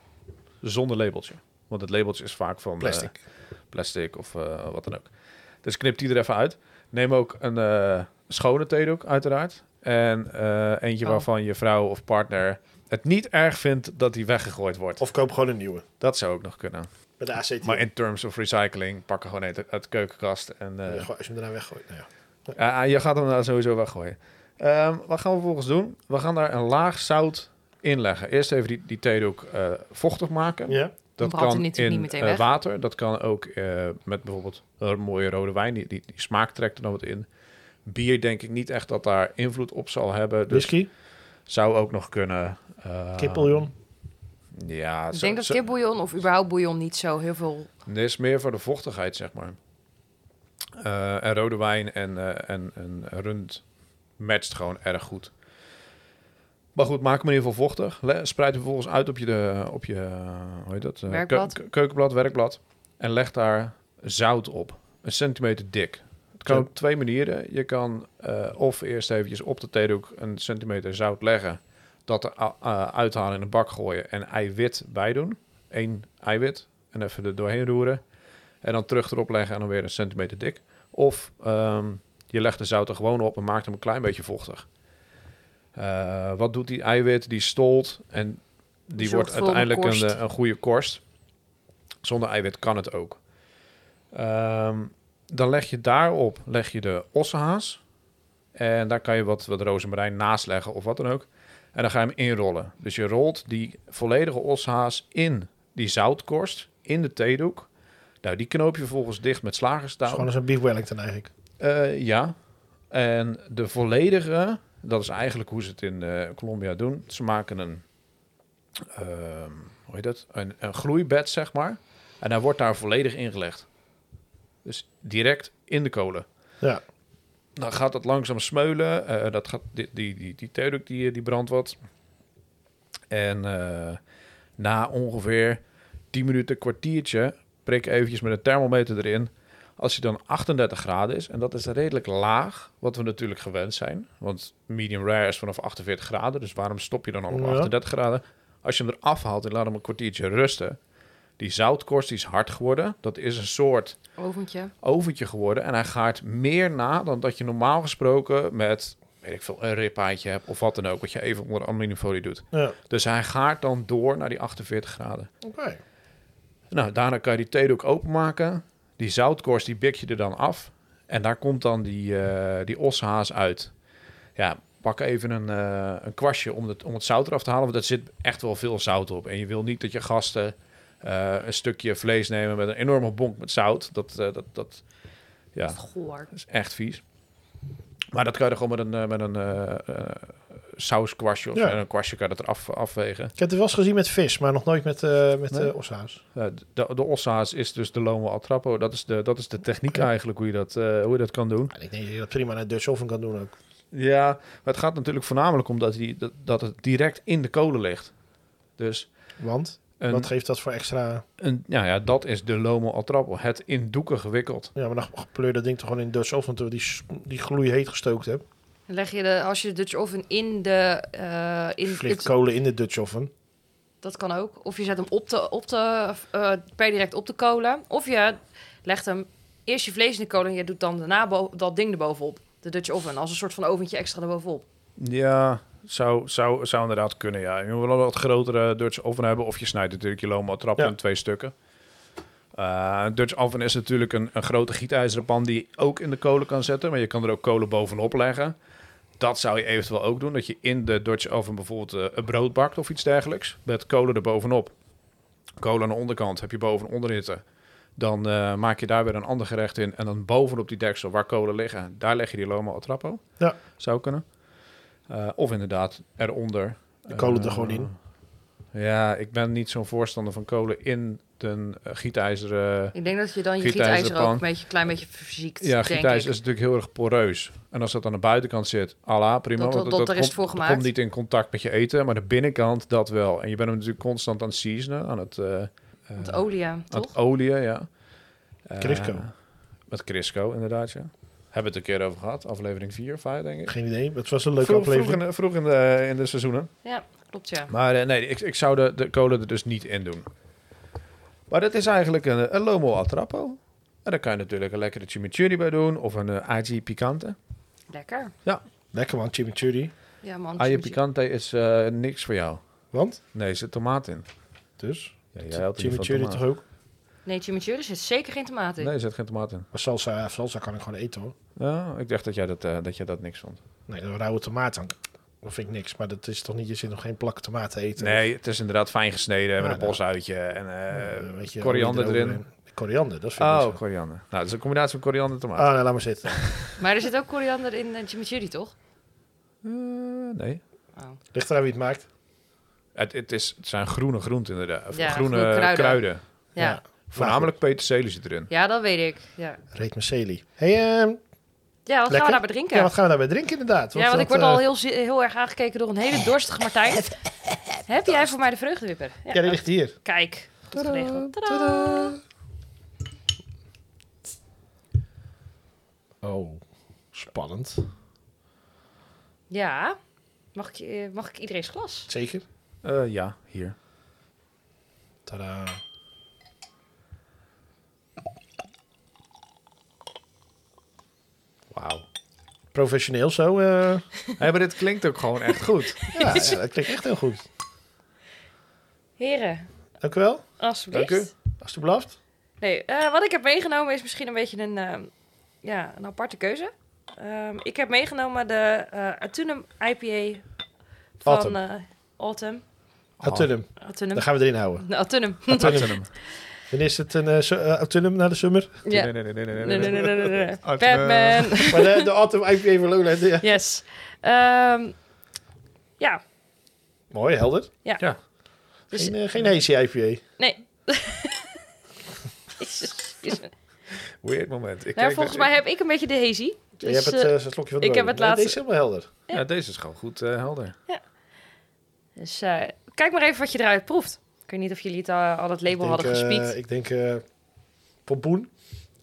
Speaker 2: zonder labeltje. Want het labeltje is vaak van eh,
Speaker 1: Plastic.
Speaker 2: plastic of eh, wat dan ook. Dus knip die er even uit. Neem ook een eh, schone theedoek, uiteraard. En eh, eentje
Speaker 3: Oh.
Speaker 2: waarvan je vrouw of partner het niet erg vindt dat die weggegooid wordt.
Speaker 1: Of koop gewoon een nieuwe.
Speaker 2: Dat zou ook nog kunnen.
Speaker 1: Met de ACT.
Speaker 2: Maar in terms of recycling, pak er gewoon een uit de keukenkast. En,
Speaker 1: Als
Speaker 2: eh,
Speaker 1: je hem daarna weggooit. Nou ja.
Speaker 2: ja, Eh, ah, je gaat hem daar sowieso weggooien. Ehm, wat gaan we vervolgens doen? We gaan daar een laag zout in leggen. Eerst even die, die theedoek eh, vochtig maken.
Speaker 1: ja.
Speaker 2: Dat
Speaker 3: Dan brandt
Speaker 2: kan
Speaker 3: hij natuurlijk
Speaker 2: in
Speaker 3: niet meteen
Speaker 2: eh,
Speaker 3: weg.
Speaker 2: water. Dat kan ook eh, met bijvoorbeeld een mooie rode wijn. Die, die, die smaak trekt er dan wat in. Bier denk ik niet echt dat daar invloed op zal hebben. Dus
Speaker 1: Whisky,
Speaker 2: zou ook nog kunnen. eh,
Speaker 1: kippenbouillon.
Speaker 2: Ja,
Speaker 3: Ik
Speaker 2: zo-
Speaker 3: denk dat
Speaker 2: zo-
Speaker 3: kipbouillon of überhaupt bouillon niet zo heel veel...
Speaker 2: Dit is meer voor de vochtigheid, zeg maar. Eh, en rode wijn en, eh, en, en rund matcht gewoon erg goed. Maar goed, maak hem in ieder geval vochtig. Le- spreid hem vervolgens uit op je, de, op je eh, hoe heet dat? Eh,
Speaker 3: Werkblad.
Speaker 2: keu- keukenblad, werkblad. En leg daar zout op. Een centimeter dik. Het kan
Speaker 1: Ja.
Speaker 2: op twee manieren. Je kan eh, of eerst eventjes op de theedoek een centimeter zout leggen. Dat er a- eh, uithalen in een bak gooien en eiwit bij doen. Eén eiwit en even er doorheen roeren. En dan terug erop leggen en dan weer een centimeter dik. Of ehm, je legt de zout er gewoon op en maakt hem een klein beetje vochtig. Eh, wat doet die eiwit? Die stolt en die
Speaker 3: Zorgt
Speaker 2: wordt
Speaker 3: voor een
Speaker 2: uiteindelijk een,
Speaker 3: korst.
Speaker 2: eh, een goede korst. Zonder eiwit kan het ook. Ehm, dan leg je daarop leg je de ossehaas. En daar kan je wat, wat rozemarijn naast leggen of wat dan ook. En dan ga je hem inrollen. Dus je rolt die volledige ossehaas in die zoutkorst, in de theedoek. Nou, die knoop je vervolgens dicht met
Speaker 1: Dat
Speaker 2: slagerstouw.
Speaker 1: is gewoon zo'n beef wellington eigenlijk.
Speaker 2: Eh, ja. En de volledige, dat is eigenlijk hoe ze het in eh, Colombia doen. Ze maken een, ehm, hoe heet dat? Een, een groeibed, zeg maar. En hij wordt daar volledig ingelegd. Dus direct in de kolen.
Speaker 1: Ja.
Speaker 2: Dan gaat dat langzaam smeulen. eh, dat gaat, die, die, die, die theedoek die, die brandt wat. En eh, na ongeveer 10 minuten, kwartiertje, prik eventjes met een thermometer erin. Als hij dan 38 graden is, en dat is redelijk laag, wat we natuurlijk gewend zijn. Want medium rare is vanaf 48 graden, dus waarom stop je dan al op
Speaker 1: Ja.
Speaker 2: 38 graden? Als je hem eraf haalt en laat hem een kwartiertje rusten. Die zoutkorst die is hard geworden. Dat is een soort
Speaker 3: Oventje.
Speaker 2: oventje geworden. En hij gaart meer na dan dat je normaal gesproken met, weet ik veel, een ripaatje hebt of wat dan ook. Wat je even onder aluminiumfolie doet.
Speaker 1: ja.
Speaker 2: Dus hij gaart dan door naar die 48 graden.
Speaker 1: Oké.
Speaker 2: Nou, daarna kan je die theedoek openmaken. Die zoutkorst, die bik je er dan af. En daar komt dan die, eh die oshaas uit. Ja, pak even een, eh, een kwastje om het, om het zout eraf te halen. Want er zit echt wel veel zout op. En je wil niet dat je gasten eh, een stukje vlees nemen met een enorme bonk met zout. Dat, eh, dat, dat, ja, dat
Speaker 3: Goor.
Speaker 2: is echt vies. Maar dat kan je er gewoon met een, eh, met een eh, eh, sauskwastje of
Speaker 1: Ja.
Speaker 2: en een kwastje kan je dat eraf afwegen.
Speaker 1: Ik heb het wel eens gezien met vis, maar nog nooit met, eh met
Speaker 2: Nee.
Speaker 1: eh, ossa's.
Speaker 2: Ja, de, de ossa's is dus de lomo al trappo. Dat is de, dat is de techniek
Speaker 1: Ja.
Speaker 2: eigenlijk hoe je, dat, eh, hoe je dat kan doen.
Speaker 1: Maar ik denk dat je dat prima naar Dutch oven kan doen ook.
Speaker 2: Ja, maar het gaat natuurlijk voornamelijk om dat, die, dat, dat het direct in de kolen ligt. Dus
Speaker 1: Want,
Speaker 2: een,
Speaker 1: wat geeft dat voor extra...
Speaker 2: een, nou ja, dat is de lomo al trappo. Het in doeken gewikkeld.
Speaker 1: Ja, maar dan pleur dat ding toch gewoon in Dutch oven, terwijl die, s- die gloei heet gestookt hebt.
Speaker 3: Leg je de, als je de Dutch oven in de... eh, in,
Speaker 1: Vliegt
Speaker 3: het-
Speaker 1: kolen in de Dutch oven.
Speaker 3: dat kan ook. Of je zet hem op de, op de, eh, per direct op de kolen. Of je legt hem eerst je vlees in de kolen en je doet dan daarna bo- dat ding erbovenop. De Dutch oven, als een soort van oventje extra erbovenop.
Speaker 2: Ja, zou, zou, zou inderdaad kunnen, ja. Je moet wel een wat grotere Dutch oven hebben. Of je snijdt natuurlijk je lomo al trappo
Speaker 1: Ja.
Speaker 2: in twee stukken. Eh, een Dutch oven is natuurlijk een, een grote gietijzeren pan die je ook in de kolen kan zetten. Maar je kan er ook kolen bovenop leggen. Dat zou je eventueel ook doen. Dat je in de Dutch oven bijvoorbeeld eh, een brood bakt of iets dergelijks. Met kolen er bovenop. Kolen aan de onderkant heb je boven en onderhitte. Dan eh, maak je daar weer een ander gerecht in. En dan bovenop die deksel waar kolen liggen, daar leg je die lomo al trappo.
Speaker 1: Ja.
Speaker 2: Zou kunnen. Eh, of inderdaad eronder.
Speaker 1: De kolen er
Speaker 2: Eh,
Speaker 1: gewoon in.
Speaker 2: Ja, ik ben niet zo'n voorstander van kolen in een eh, gietijzeren...
Speaker 3: Ik denk dat je dan je
Speaker 2: Gietijzeren
Speaker 3: gietijzer ook
Speaker 2: pan.
Speaker 3: een beetje, klein beetje verziekt,
Speaker 2: Ja,
Speaker 3: denk
Speaker 2: gietijzer
Speaker 3: ik.
Speaker 2: is natuurlijk heel erg poreus. En als dat aan de buitenkant zit, ala, prima.
Speaker 3: Dat-
Speaker 2: want
Speaker 3: dat- dat er is
Speaker 2: komt-
Speaker 3: voor
Speaker 2: dat
Speaker 3: gemaakt.
Speaker 2: komt niet in contact met je eten, maar de binnenkant dat wel. En je bent hem natuurlijk constant aan het seasonen, aan het... eh, eh,
Speaker 3: Want olie, ja,
Speaker 2: aan
Speaker 3: toch?
Speaker 2: het olie, ja. Eh,
Speaker 1: Crisco.
Speaker 2: met Crisco, inderdaad, ja. Hebben we het een keer over gehad. Aflevering 4 of 5, denk ik.
Speaker 1: Geen idee, maar het was een leuke
Speaker 2: vroeg, vroeg, in,
Speaker 1: aflevering.
Speaker 2: de- vroeg in, de, in de seizoenen.
Speaker 3: Ja, klopt ja.
Speaker 2: Maar eh, nee, ik, ik zou de, de kolen er dus niet in doen. Maar dat is eigenlijk een, een lomo al trappo. En daar kan je natuurlijk een lekkere chimichurri bij doen. Of een eh aji picante.
Speaker 3: Lekker.
Speaker 1: Lekker man, chimichurri.
Speaker 3: Ja man.
Speaker 2: Aji
Speaker 3: chimichurri.
Speaker 2: picante is eh, niks voor jou.
Speaker 1: Want?
Speaker 2: Nee, er zit tomaat in.
Speaker 1: Dus?
Speaker 2: Ja,
Speaker 1: Chimichurri toch ook?
Speaker 3: Nee, chimichurri zit zeker geen tomaat in.
Speaker 2: Nee, er zit geen tomaat in.
Speaker 1: Maar salsa, salsa kan ik gewoon eten hoor.
Speaker 2: Ja, ik dacht dat jij dat, eh, dat, jij dat niks vond.
Speaker 1: Nee, een rauwe tomaat dan. Dat vind ik niks. Maar dat is toch niet, je zit nog geen plak tomaat te eten.
Speaker 2: Nee, het is inderdaad fijn gesneden. met
Speaker 1: Ja,
Speaker 2: een
Speaker 1: nou.
Speaker 2: bosuitje en eh,
Speaker 1: Eh, weet je,
Speaker 2: koriander
Speaker 1: hoe je
Speaker 2: erin.
Speaker 1: eroverheen- Koriander, dat vind ik
Speaker 2: Oh,
Speaker 1: niet zo.
Speaker 2: koriander. Nou, het is een combinatie van koriander en tomaat.
Speaker 1: Ah, nee, laat maar zitten.
Speaker 3: Maar er zit ook koriander in eh, chimichurri, toch?
Speaker 1: Ah.
Speaker 2: Eh, nee.
Speaker 3: Oh.
Speaker 1: Ligt eraan wie het maakt.
Speaker 2: Het, het, is, het zijn groene groenten inderdaad. Of
Speaker 3: Ja,
Speaker 2: groene,
Speaker 3: groene
Speaker 2: kruiden.
Speaker 3: kruiden.
Speaker 1: Ja.
Speaker 3: Ja.
Speaker 1: Maar
Speaker 3: ja.
Speaker 2: Voornamelijk peterselie zit erin.
Speaker 3: dat weet ik. Ja,
Speaker 1: Reet Merceli. Hey, ehm,
Speaker 3: ja wat gaan
Speaker 1: Lekker.
Speaker 3: we daarbij drinken?
Speaker 1: ja, wat gaan we daarbij drinken inderdaad?
Speaker 3: Ja, want
Speaker 1: dat,
Speaker 3: ik word al
Speaker 1: eh,
Speaker 3: heel, zi- heel erg aangekeken door een hele dorstige Martijn. Heb jij voor mij de vreugdewipper? Ja, oh,
Speaker 1: Ja, die ligt hier.
Speaker 3: Kijk, goed
Speaker 1: Tadaa,
Speaker 3: geregeld. Tadaa.
Speaker 1: tadaa. Oh, spannend.
Speaker 3: Ja, mag ik, eh, mag ik iedereen's glas?
Speaker 1: Zeker.
Speaker 2: Eh, ja, hier.
Speaker 1: Tada.
Speaker 2: Wauw.
Speaker 1: Professioneel zo. eh.
Speaker 2: maar dit klinkt ook gewoon echt goed.
Speaker 1: ja, ja, dat klinkt echt heel goed.
Speaker 3: Heren,
Speaker 1: Dank u wel.
Speaker 3: alsjeblieft.
Speaker 2: Dank u.
Speaker 1: Alsjeblieft.
Speaker 3: Nee, eh, wat ik heb meegenomen is misschien een beetje een, ehm, ja, een aparte keuze. Ehm, ik heb meegenomen de eh Atunum IPA van
Speaker 1: Autumn.
Speaker 3: Autumn. Autumn.
Speaker 2: Oh.
Speaker 1: Atunum.
Speaker 3: Autumnum.
Speaker 1: Dan gaan we erin houden.
Speaker 3: Autumnum.
Speaker 1: Atunum. Dan is het een eh, su- eh, Atunum naar de summer.
Speaker 3: Ja.
Speaker 2: Nee, nee, nee, nee, nee,
Speaker 3: Nee, nee, nee, nee, nee, nee.
Speaker 2: Autumn.
Speaker 3: Batman.
Speaker 1: Maar de, de Autumn IPA van Lowland. ja.
Speaker 3: Yes. Ehm, ja,
Speaker 1: Mooi, helder.
Speaker 3: dus
Speaker 1: Geen, eh, geen hazy IPA.
Speaker 3: nee. Jezus, jezus.
Speaker 2: Weird moment. Ik
Speaker 3: Nou,
Speaker 2: kijk
Speaker 3: volgens
Speaker 2: dat-
Speaker 3: mij heb ik een beetje de hazy.
Speaker 1: eh, je hebt
Speaker 3: Dus,
Speaker 1: het
Speaker 3: eh,
Speaker 1: eh, slokje van de
Speaker 3: ik heb
Speaker 1: rode.
Speaker 3: het
Speaker 1: Nee,
Speaker 3: laatste-
Speaker 1: Deze is helemaal helder.
Speaker 2: Ja, deze is gewoon goed eh, helder.
Speaker 3: dus eh, kijk maar even wat je eruit proeft. Ik weet niet of jullie het al, al het label
Speaker 1: Ik
Speaker 3: hadden
Speaker 1: denk, eh,
Speaker 3: gespiekt.
Speaker 1: ik denk eh, pompoen.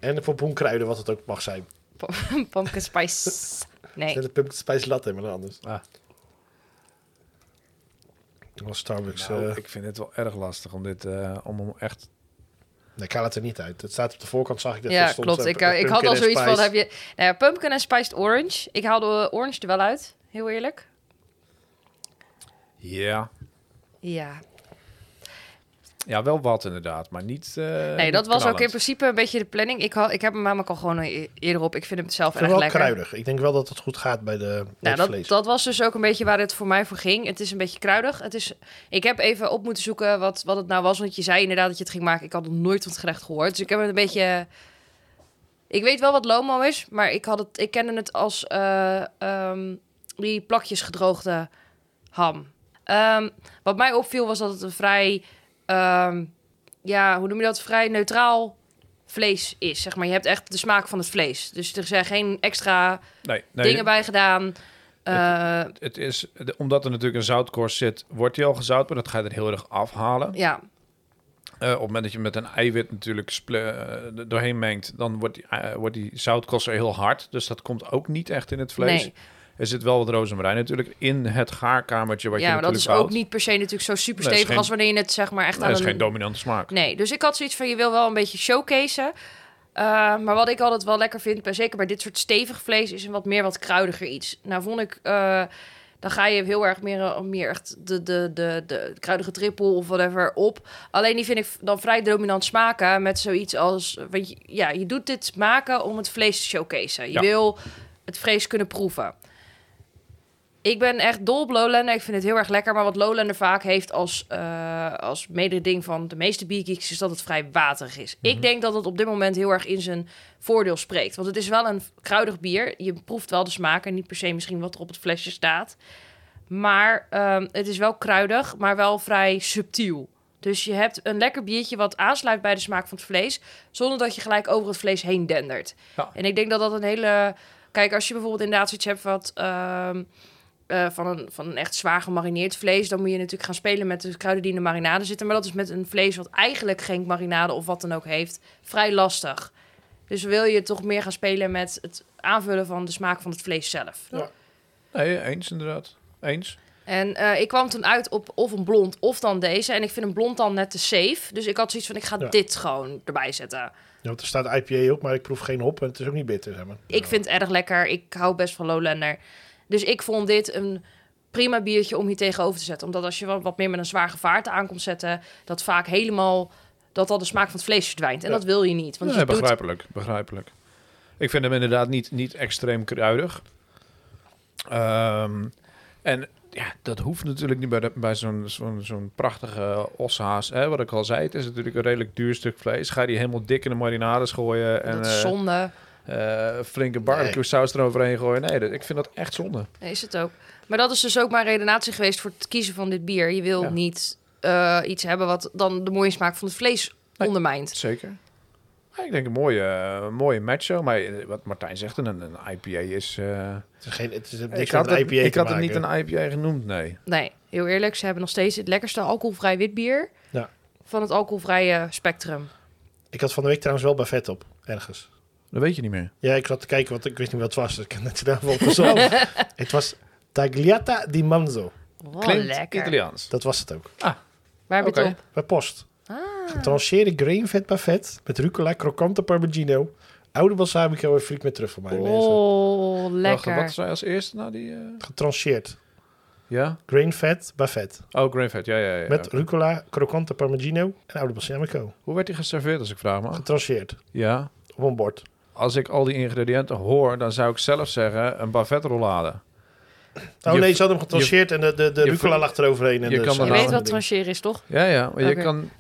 Speaker 1: En de pompoenkruiden, wat het ook mag zijn.
Speaker 3: Pumpkin spice. Nee.
Speaker 1: Net een pumpkin spice latte, maar dan anders.
Speaker 2: Ah.
Speaker 1: Als Starbucks.
Speaker 2: Nou,
Speaker 1: eh,
Speaker 2: ik vind het wel erg lastig om dit eh, om hem echt...
Speaker 1: nee, ik haal het er niet uit. Het staat op de voorkant, zag ik dat.
Speaker 3: Ja,
Speaker 1: er stond,
Speaker 3: klopt.
Speaker 1: eh,
Speaker 3: Ik, eh, ik had
Speaker 1: pumpkin
Speaker 3: al
Speaker 1: en
Speaker 3: zoiets van,
Speaker 1: spice.
Speaker 3: heb je... Nou ja, pumpkin en spiced orange. Ik haalde eh, orange er wel uit, heel eerlijk.
Speaker 2: Ja.
Speaker 3: Ja.
Speaker 2: Ja, wel wat inderdaad, maar niet eh,
Speaker 3: Nee,
Speaker 2: niet
Speaker 3: dat was ook in
Speaker 2: knallend.
Speaker 3: principe een beetje de planning. Ik, had, ik heb hem namelijk al gewoon e- eerder op. Ik vind hem zelf
Speaker 1: Ik vind
Speaker 3: erg
Speaker 1: het wel
Speaker 3: lekker.
Speaker 1: kruidig. Ik denk wel dat het goed gaat bij de bij
Speaker 3: Nou,
Speaker 1: het
Speaker 3: dat,
Speaker 1: vlees.
Speaker 3: dat was dus ook een beetje waar het voor mij voor ging. Het is een beetje kruidig. Het is, ik heb even op moeten zoeken wat, wat het nou was. Want je zei inderdaad dat je het ging maken. Ik had nog nooit van het gerecht gehoord. Dus ik heb het een beetje... Ik weet wel wat lomo is, maar ik, had het, ik kende het als eh, ehm, die plakjes gedroogde ham. Ehm, wat mij opviel was dat het een vrij... ehm, ja, hoe noem je dat? Vrij neutraal vlees is, zeg maar. Je hebt echt de smaak van het vlees. Dus er zijn geen extra
Speaker 2: Nee, nee,
Speaker 3: dingen bij gedaan. Eh,
Speaker 2: Het is, de- omdat er natuurlijk een zoutkorst zit, wordt die al gezout, maar dat ga je er heel erg afhalen.
Speaker 3: ja,
Speaker 2: Eh, op het moment dat je met een eiwit natuurlijk sple- eh, er doorheen mengt, dan wordt die, eh, wordt die zoutkorst er heel hard. Dus dat komt ook niet echt in het vlees.
Speaker 3: nee.
Speaker 2: Er zit wel wat rozemarijn natuurlijk in het gaarkamertje wat
Speaker 3: ja
Speaker 2: je
Speaker 3: maar dat
Speaker 2: natuurlijk
Speaker 3: is ook
Speaker 2: bouwt.
Speaker 3: niet per se natuurlijk zo super
Speaker 2: Nee, is
Speaker 3: stevig
Speaker 2: geen-
Speaker 3: als wanneer je het zeg maar echt
Speaker 2: dat
Speaker 3: aan
Speaker 2: is
Speaker 3: een...
Speaker 2: geen dominante smaak.
Speaker 3: Nee, dus ik had zoiets van, je wil wel een beetje showcaseen. Eh, maar wat ik altijd wel lekker vind, bij, zeker bij dit soort stevig vlees, is een wat meer wat kruidiger iets. Nou vond ik, eh, dan ga je heel erg meer, eh, meer echt de, de, de, de kruidige trippel of whatever op. Alleen die vind ik dan vrij dominant smaken met zoiets als, want je, ja, je doet dit maken om het vlees te showcaseen. Je
Speaker 2: Ja.
Speaker 3: wil het vlees kunnen proeven. Ik ben echt dol op Lowlander. Ik vind het heel erg lekker. Maar wat Lowlander vaak heeft als, eh, als mededing van de meeste biergeeks... is dat het vrij waterig is. Ik denk dat het op dit moment heel erg in zijn voordeel spreekt. Want het is wel een kruidig bier. Je proeft wel de smaak en niet per se misschien wat er op het flesje staat. Maar ehm, het is wel kruidig, maar wel vrij subtiel. Dus je hebt een lekker biertje wat aansluit bij de smaak van het vlees, zonder dat je gelijk over het vlees heen dendert.
Speaker 2: Ja.
Speaker 3: En ik denk dat dat een hele. Kijk, als je bijvoorbeeld inderdaad zoiets hebt wat. ehm, eh, van, een, van een echt zwaar gemarineerd vlees, dan moet je natuurlijk gaan spelen met de kruiden die in de marinade zitten. Maar dat is met een vlees wat eigenlijk geen marinade of wat dan ook heeft, vrij lastig. Dus wil je toch meer gaan spelen met het aanvullen van de smaak van het vlees zelf.
Speaker 2: Nee, eens inderdaad. Eens.
Speaker 3: En eh, ik kwam toen uit op of een blond of dan deze. En ik vind een blond dan net te safe. Dus ik had zoiets van, ik ga
Speaker 1: Ja.
Speaker 3: dit gewoon erbij zetten.
Speaker 1: Ja, want er staat IPA op, maar ik proef geen hop en het is ook niet bitter, zeg maar.
Speaker 3: Ik vind het erg lekker. Ik hou best van Lowlander. Dus ik vond dit een prima biertje om hier tegenover te zetten. Omdat als je wat wat meer met een zwaar gevaarte aankomt zetten... dat vaak helemaal... dat al de smaak van het vlees verdwijnt. En
Speaker 1: Ja.
Speaker 3: dat wil je niet. Want
Speaker 2: Nee,
Speaker 3: je doet...
Speaker 2: begrijpelijk, begrijpelijk. Ik vind hem inderdaad niet, niet extreem kruidig. Ehm, en ja, dat hoeft natuurlijk niet bij, de- bij zo'n zo'n zo'n prachtige oshaas. Hè? Wat ik al zei, het is natuurlijk een redelijk duur stuk vlees. Ga je die helemaal dik in de marinades gooien en
Speaker 3: dat is
Speaker 2: eh
Speaker 3: zonde.
Speaker 2: eh, flinke barbecue saus eroverheen gooien. Nee, dat, ik vind dat echt zonde.
Speaker 3: Nee, is het ook. Maar dat is dus ook mijn redenatie geweest voor het kiezen van dit bier. Je wil
Speaker 2: Ja.
Speaker 3: niet eh, iets hebben wat dan de mooie smaak van het vlees
Speaker 2: Nee.
Speaker 3: ondermijnt.
Speaker 2: Zeker. Ja, ik denk een mooie, eh, mooie match zo. Maar eh, wat Martijn zegt, een, een IPA is... eh,
Speaker 1: Het is geen, het is
Speaker 2: ik
Speaker 1: niks
Speaker 2: had,
Speaker 1: met een
Speaker 2: het,
Speaker 1: IPA
Speaker 2: ik
Speaker 1: te
Speaker 2: had het
Speaker 1: maken.
Speaker 2: niet een IPA genoemd, nee.
Speaker 3: Nee, heel eerlijk, ze hebben nog steeds het lekkerste alcoholvrij witbier
Speaker 1: Ja.
Speaker 3: van het alcoholvrije spectrum.
Speaker 1: Ik had van de week trouwens wel vet op, ergens.
Speaker 2: Dat weet je niet meer.
Speaker 1: Ja, ik zat te kijken, want ik wist niet wat het was. Dus ik heb net de naam opgezocht. het was Tagliata di Manzo.
Speaker 3: Wow,
Speaker 2: Klinkt
Speaker 3: Oh, lekker.
Speaker 2: Italiaans.
Speaker 1: Dat was het ook.
Speaker 3: Waar heb je het
Speaker 2: Oké.
Speaker 3: op?
Speaker 1: Bij post.
Speaker 3: Ah,
Speaker 1: Trancheerde grainvet buffet met rucola, krokante parmigiano, oude balsamico en friek met truffel mayonaise.
Speaker 3: oh,
Speaker 2: Wacht,
Speaker 3: lekker.
Speaker 2: wat zei als eerste na die... eh,
Speaker 1: Getrancheerd.
Speaker 2: Ja?
Speaker 1: Grainvet buffet
Speaker 2: Oh, Grainfed, ja, ja, ja.
Speaker 1: met rucola, krokante parmigiano en oude balsamico.
Speaker 2: Hoe werd die geserveerd, als ik vraag me?
Speaker 1: Getrancheerd
Speaker 2: Ja.
Speaker 1: op een bord.
Speaker 2: Als ik al die ingrediënten hoor, dan zou ik zelf zeggen een bavetrollade.
Speaker 1: Oh
Speaker 2: Je-
Speaker 1: nee, ze hadden hem getrancheerd en de, de, de
Speaker 2: je-
Speaker 1: rucola lag eroverheen. En
Speaker 2: je
Speaker 1: de
Speaker 2: kan
Speaker 1: salade
Speaker 3: Je
Speaker 2: daarna-
Speaker 1: en
Speaker 3: weet wat
Speaker 1: dingen.
Speaker 3: trancheren is, toch?
Speaker 2: Ja, ja. Maar
Speaker 3: Oké.
Speaker 2: je kan...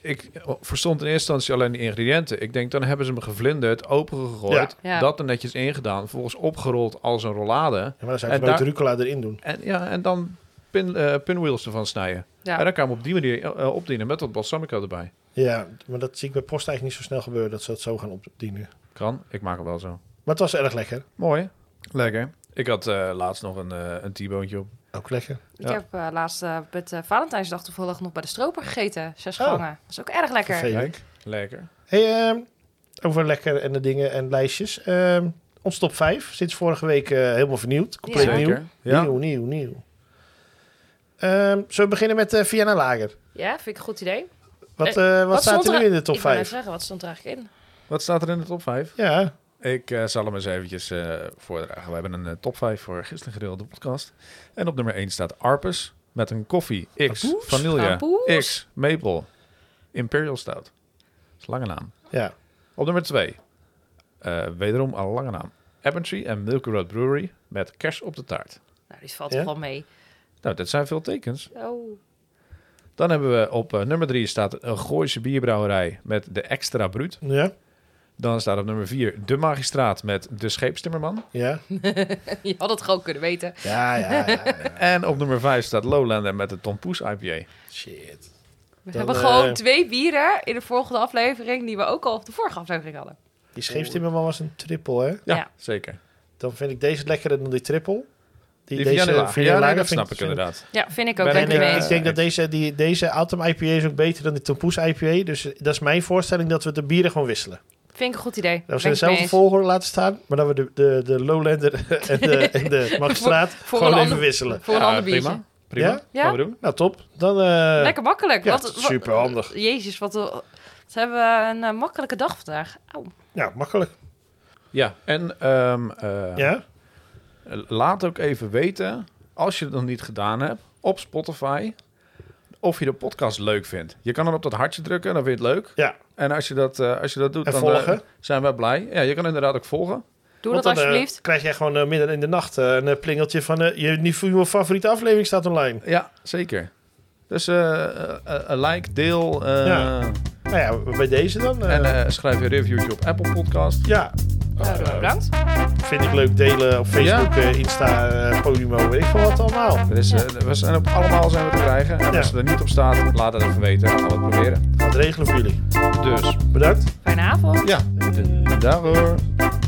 Speaker 2: Ik verstond in eerste instantie alleen die ingrediënten. Ik denk, dan hebben ze hem gevlinderd, opengegooid,
Speaker 3: Ja. Ja.
Speaker 2: dat er netjes ingedaan, vervolgens opgerold als een rollade.
Speaker 1: Ja, maar dan zou ik
Speaker 2: En
Speaker 1: nooit
Speaker 2: daar-
Speaker 1: rucola erin doen.
Speaker 2: En, ja, en dan pin, eh, pinwheels ervan snijden. En
Speaker 3: Ja.
Speaker 2: dan kan je hem op die manier eh, eh, opdienen met wat balsamico erbij.
Speaker 1: Ja, maar dat zie ik bij post eigenlijk niet zo snel gebeuren dat ze dat zo gaan opdienen.
Speaker 2: Kan, ik maak hem wel zo.
Speaker 1: Maar het was erg lekker.
Speaker 2: Mooi. Lekker. Ik had eh, laatst nog een, eh een T-boontje op.
Speaker 1: Ook lekker.
Speaker 3: Ik
Speaker 2: Ja.
Speaker 3: heb eh, laatst eh, met eh, Valentijnsdag toevallig nog bij de stroper gegeten. Zes
Speaker 1: Oh.
Speaker 3: gangen. Dat is ook erg lekker.
Speaker 1: Vervelend.
Speaker 2: Kijk. Lekker.
Speaker 1: Hey, ehm, over lekker en de dingen en lijstjes. Ehm, ons top 5, sinds vorige week eh, helemaal vernieuwd. Compleet
Speaker 3: Ja.
Speaker 1: nieuw.
Speaker 2: Zeker. Ja.
Speaker 1: Nieuw, nieuw, nieuw. Ehm zullen we beginnen met eh Vienna Lager?
Speaker 3: Ja, vind ik een goed idee.
Speaker 1: Wat,
Speaker 3: Eh,
Speaker 1: eh, wat, staat
Speaker 3: stond
Speaker 1: er nu in de top
Speaker 3: Ik wou net
Speaker 1: 5?
Speaker 3: zeggen, wat stond er eigenlijk in?
Speaker 2: Wat staat er in de top 5?
Speaker 1: Ja,
Speaker 2: Ik eh, zal hem eens eventjes eh, voordragen. We hebben een eh, top 5 voor gisteren gedeelde podcast. En op nummer 1 staat Arpus met een koffie. X,
Speaker 1: Arpus?
Speaker 2: vanille.
Speaker 3: Arpus?
Speaker 2: X, maple. Imperial Stout. Dat is lange naam.
Speaker 1: ja.
Speaker 2: Op nummer 2. wederom een lange naam. Aberntree en Milky Road Brewery met kers op de taart.
Speaker 3: Nou, die valt
Speaker 1: Ja?
Speaker 3: toch wel mee.
Speaker 2: Nou, dat zijn veel tekens.
Speaker 3: Oh.
Speaker 2: Dan hebben we op eh, nummer 3 staat een Gooise bierbrouwerij met de Extra Bruut.
Speaker 1: Ja,
Speaker 2: Dan staat op nummer 4 de Magistraat met de Scheepstimmerman.
Speaker 1: ja.
Speaker 3: Je had het gewoon kunnen weten.
Speaker 1: Ja, ja, ja, ja.
Speaker 2: En op nummer 5 staat Lowlander met de Tom Poes IPA.
Speaker 1: Shit.
Speaker 3: We
Speaker 1: Dan,
Speaker 3: hebben
Speaker 1: eh,
Speaker 3: gewoon twee bieren in de volgende aflevering... die we ook al op de vorige aflevering hadden.
Speaker 1: Die
Speaker 2: Oh.
Speaker 1: scheepstimmerman was een triple, hè?
Speaker 2: Ja,
Speaker 3: Ja.
Speaker 2: zeker.
Speaker 1: Dan vind ik deze lekkerder dan die triple.
Speaker 2: Die,
Speaker 1: deze
Speaker 2: Vienna Lager.
Speaker 1: Vienna
Speaker 2: Ja, nee,
Speaker 1: Lager
Speaker 2: dat
Speaker 1: vind
Speaker 2: snap ik inderdaad.
Speaker 3: Ja, vind ik ook.
Speaker 2: Ben
Speaker 3: Ben
Speaker 1: En
Speaker 2: ik,
Speaker 1: ik,
Speaker 2: eh,
Speaker 1: ik denk dat deze, die, deze Atom IPA is ook beter dan die Tompoes IPA. Dus eh, dat is mijn voorstelling dat we de bieren gewoon wisselen.
Speaker 3: Vind ik een goed idee.
Speaker 1: Dat we ze
Speaker 3: Ben ik mee
Speaker 1: dezelfde
Speaker 3: eens.
Speaker 1: volgorde laten staan, maar dat we de, de, de Lowlander en de, en de Magistraat
Speaker 3: voor een
Speaker 1: gewoon even
Speaker 3: ander-
Speaker 1: wisselen.
Speaker 3: Voor een
Speaker 2: Ja,
Speaker 3: ander biertje.
Speaker 2: prima. Prima.
Speaker 1: Ja?
Speaker 3: Ja?
Speaker 2: Gaan we doen.
Speaker 1: Nou, top. Dan, eh,
Speaker 3: Lekker makkelijk.
Speaker 1: ja,
Speaker 3: wat,
Speaker 1: het is
Speaker 3: wat-
Speaker 1: superhandig.
Speaker 3: Jezus, wat, een- wat hebben we een eh, makkelijke dag vandaag. Au.
Speaker 1: Ja, makkelijk.
Speaker 2: Ja, en ehm, eh,
Speaker 1: Ja?
Speaker 2: laat ook even weten, als je het nog niet gedaan hebt, op Spotify, of je de podcast leuk vindt. Je kan dan op dat hartje drukken, dan vind je het leuk.
Speaker 1: Ja.
Speaker 2: En als je dat, eh, als je dat doet,
Speaker 1: En
Speaker 2: dan
Speaker 1: volgen.
Speaker 2: eh, zijn wij blij. Ja, je kan inderdaad ook volgen.
Speaker 3: Doe
Speaker 1: Want
Speaker 3: dat
Speaker 1: dan, eh,
Speaker 3: alsjeblieft.
Speaker 1: krijg jij gewoon eh, midden in de nacht eh, een eh, plingeltje van eh, je nieuwe favoriete aflevering staat online.
Speaker 2: Ja, zeker. Dus eh, eh, eh, like, deel eh,
Speaker 1: Ja. Nou ja, bij deze dan. eh,
Speaker 2: en eh, schrijf je reviewtje op Apple Podcast.
Speaker 1: ja,
Speaker 3: Nou,
Speaker 2: eh,
Speaker 3: bedankt.
Speaker 1: Vind ik leuk delen op Facebook, eh, Insta, eh, Podimo, weet ik veel wat allemaal.
Speaker 2: er is,
Speaker 3: Ja.
Speaker 2: eh, we zijn op allemaal zijn we te krijgen. En
Speaker 1: Ja.
Speaker 2: als het er niet op staat, laat het even weten. Dan gaan we het proberen.
Speaker 1: Gaat regelen voor jullie.
Speaker 2: Dus,
Speaker 1: Bedankt.
Speaker 3: Fijne avond.
Speaker 2: ja. Dag hoor.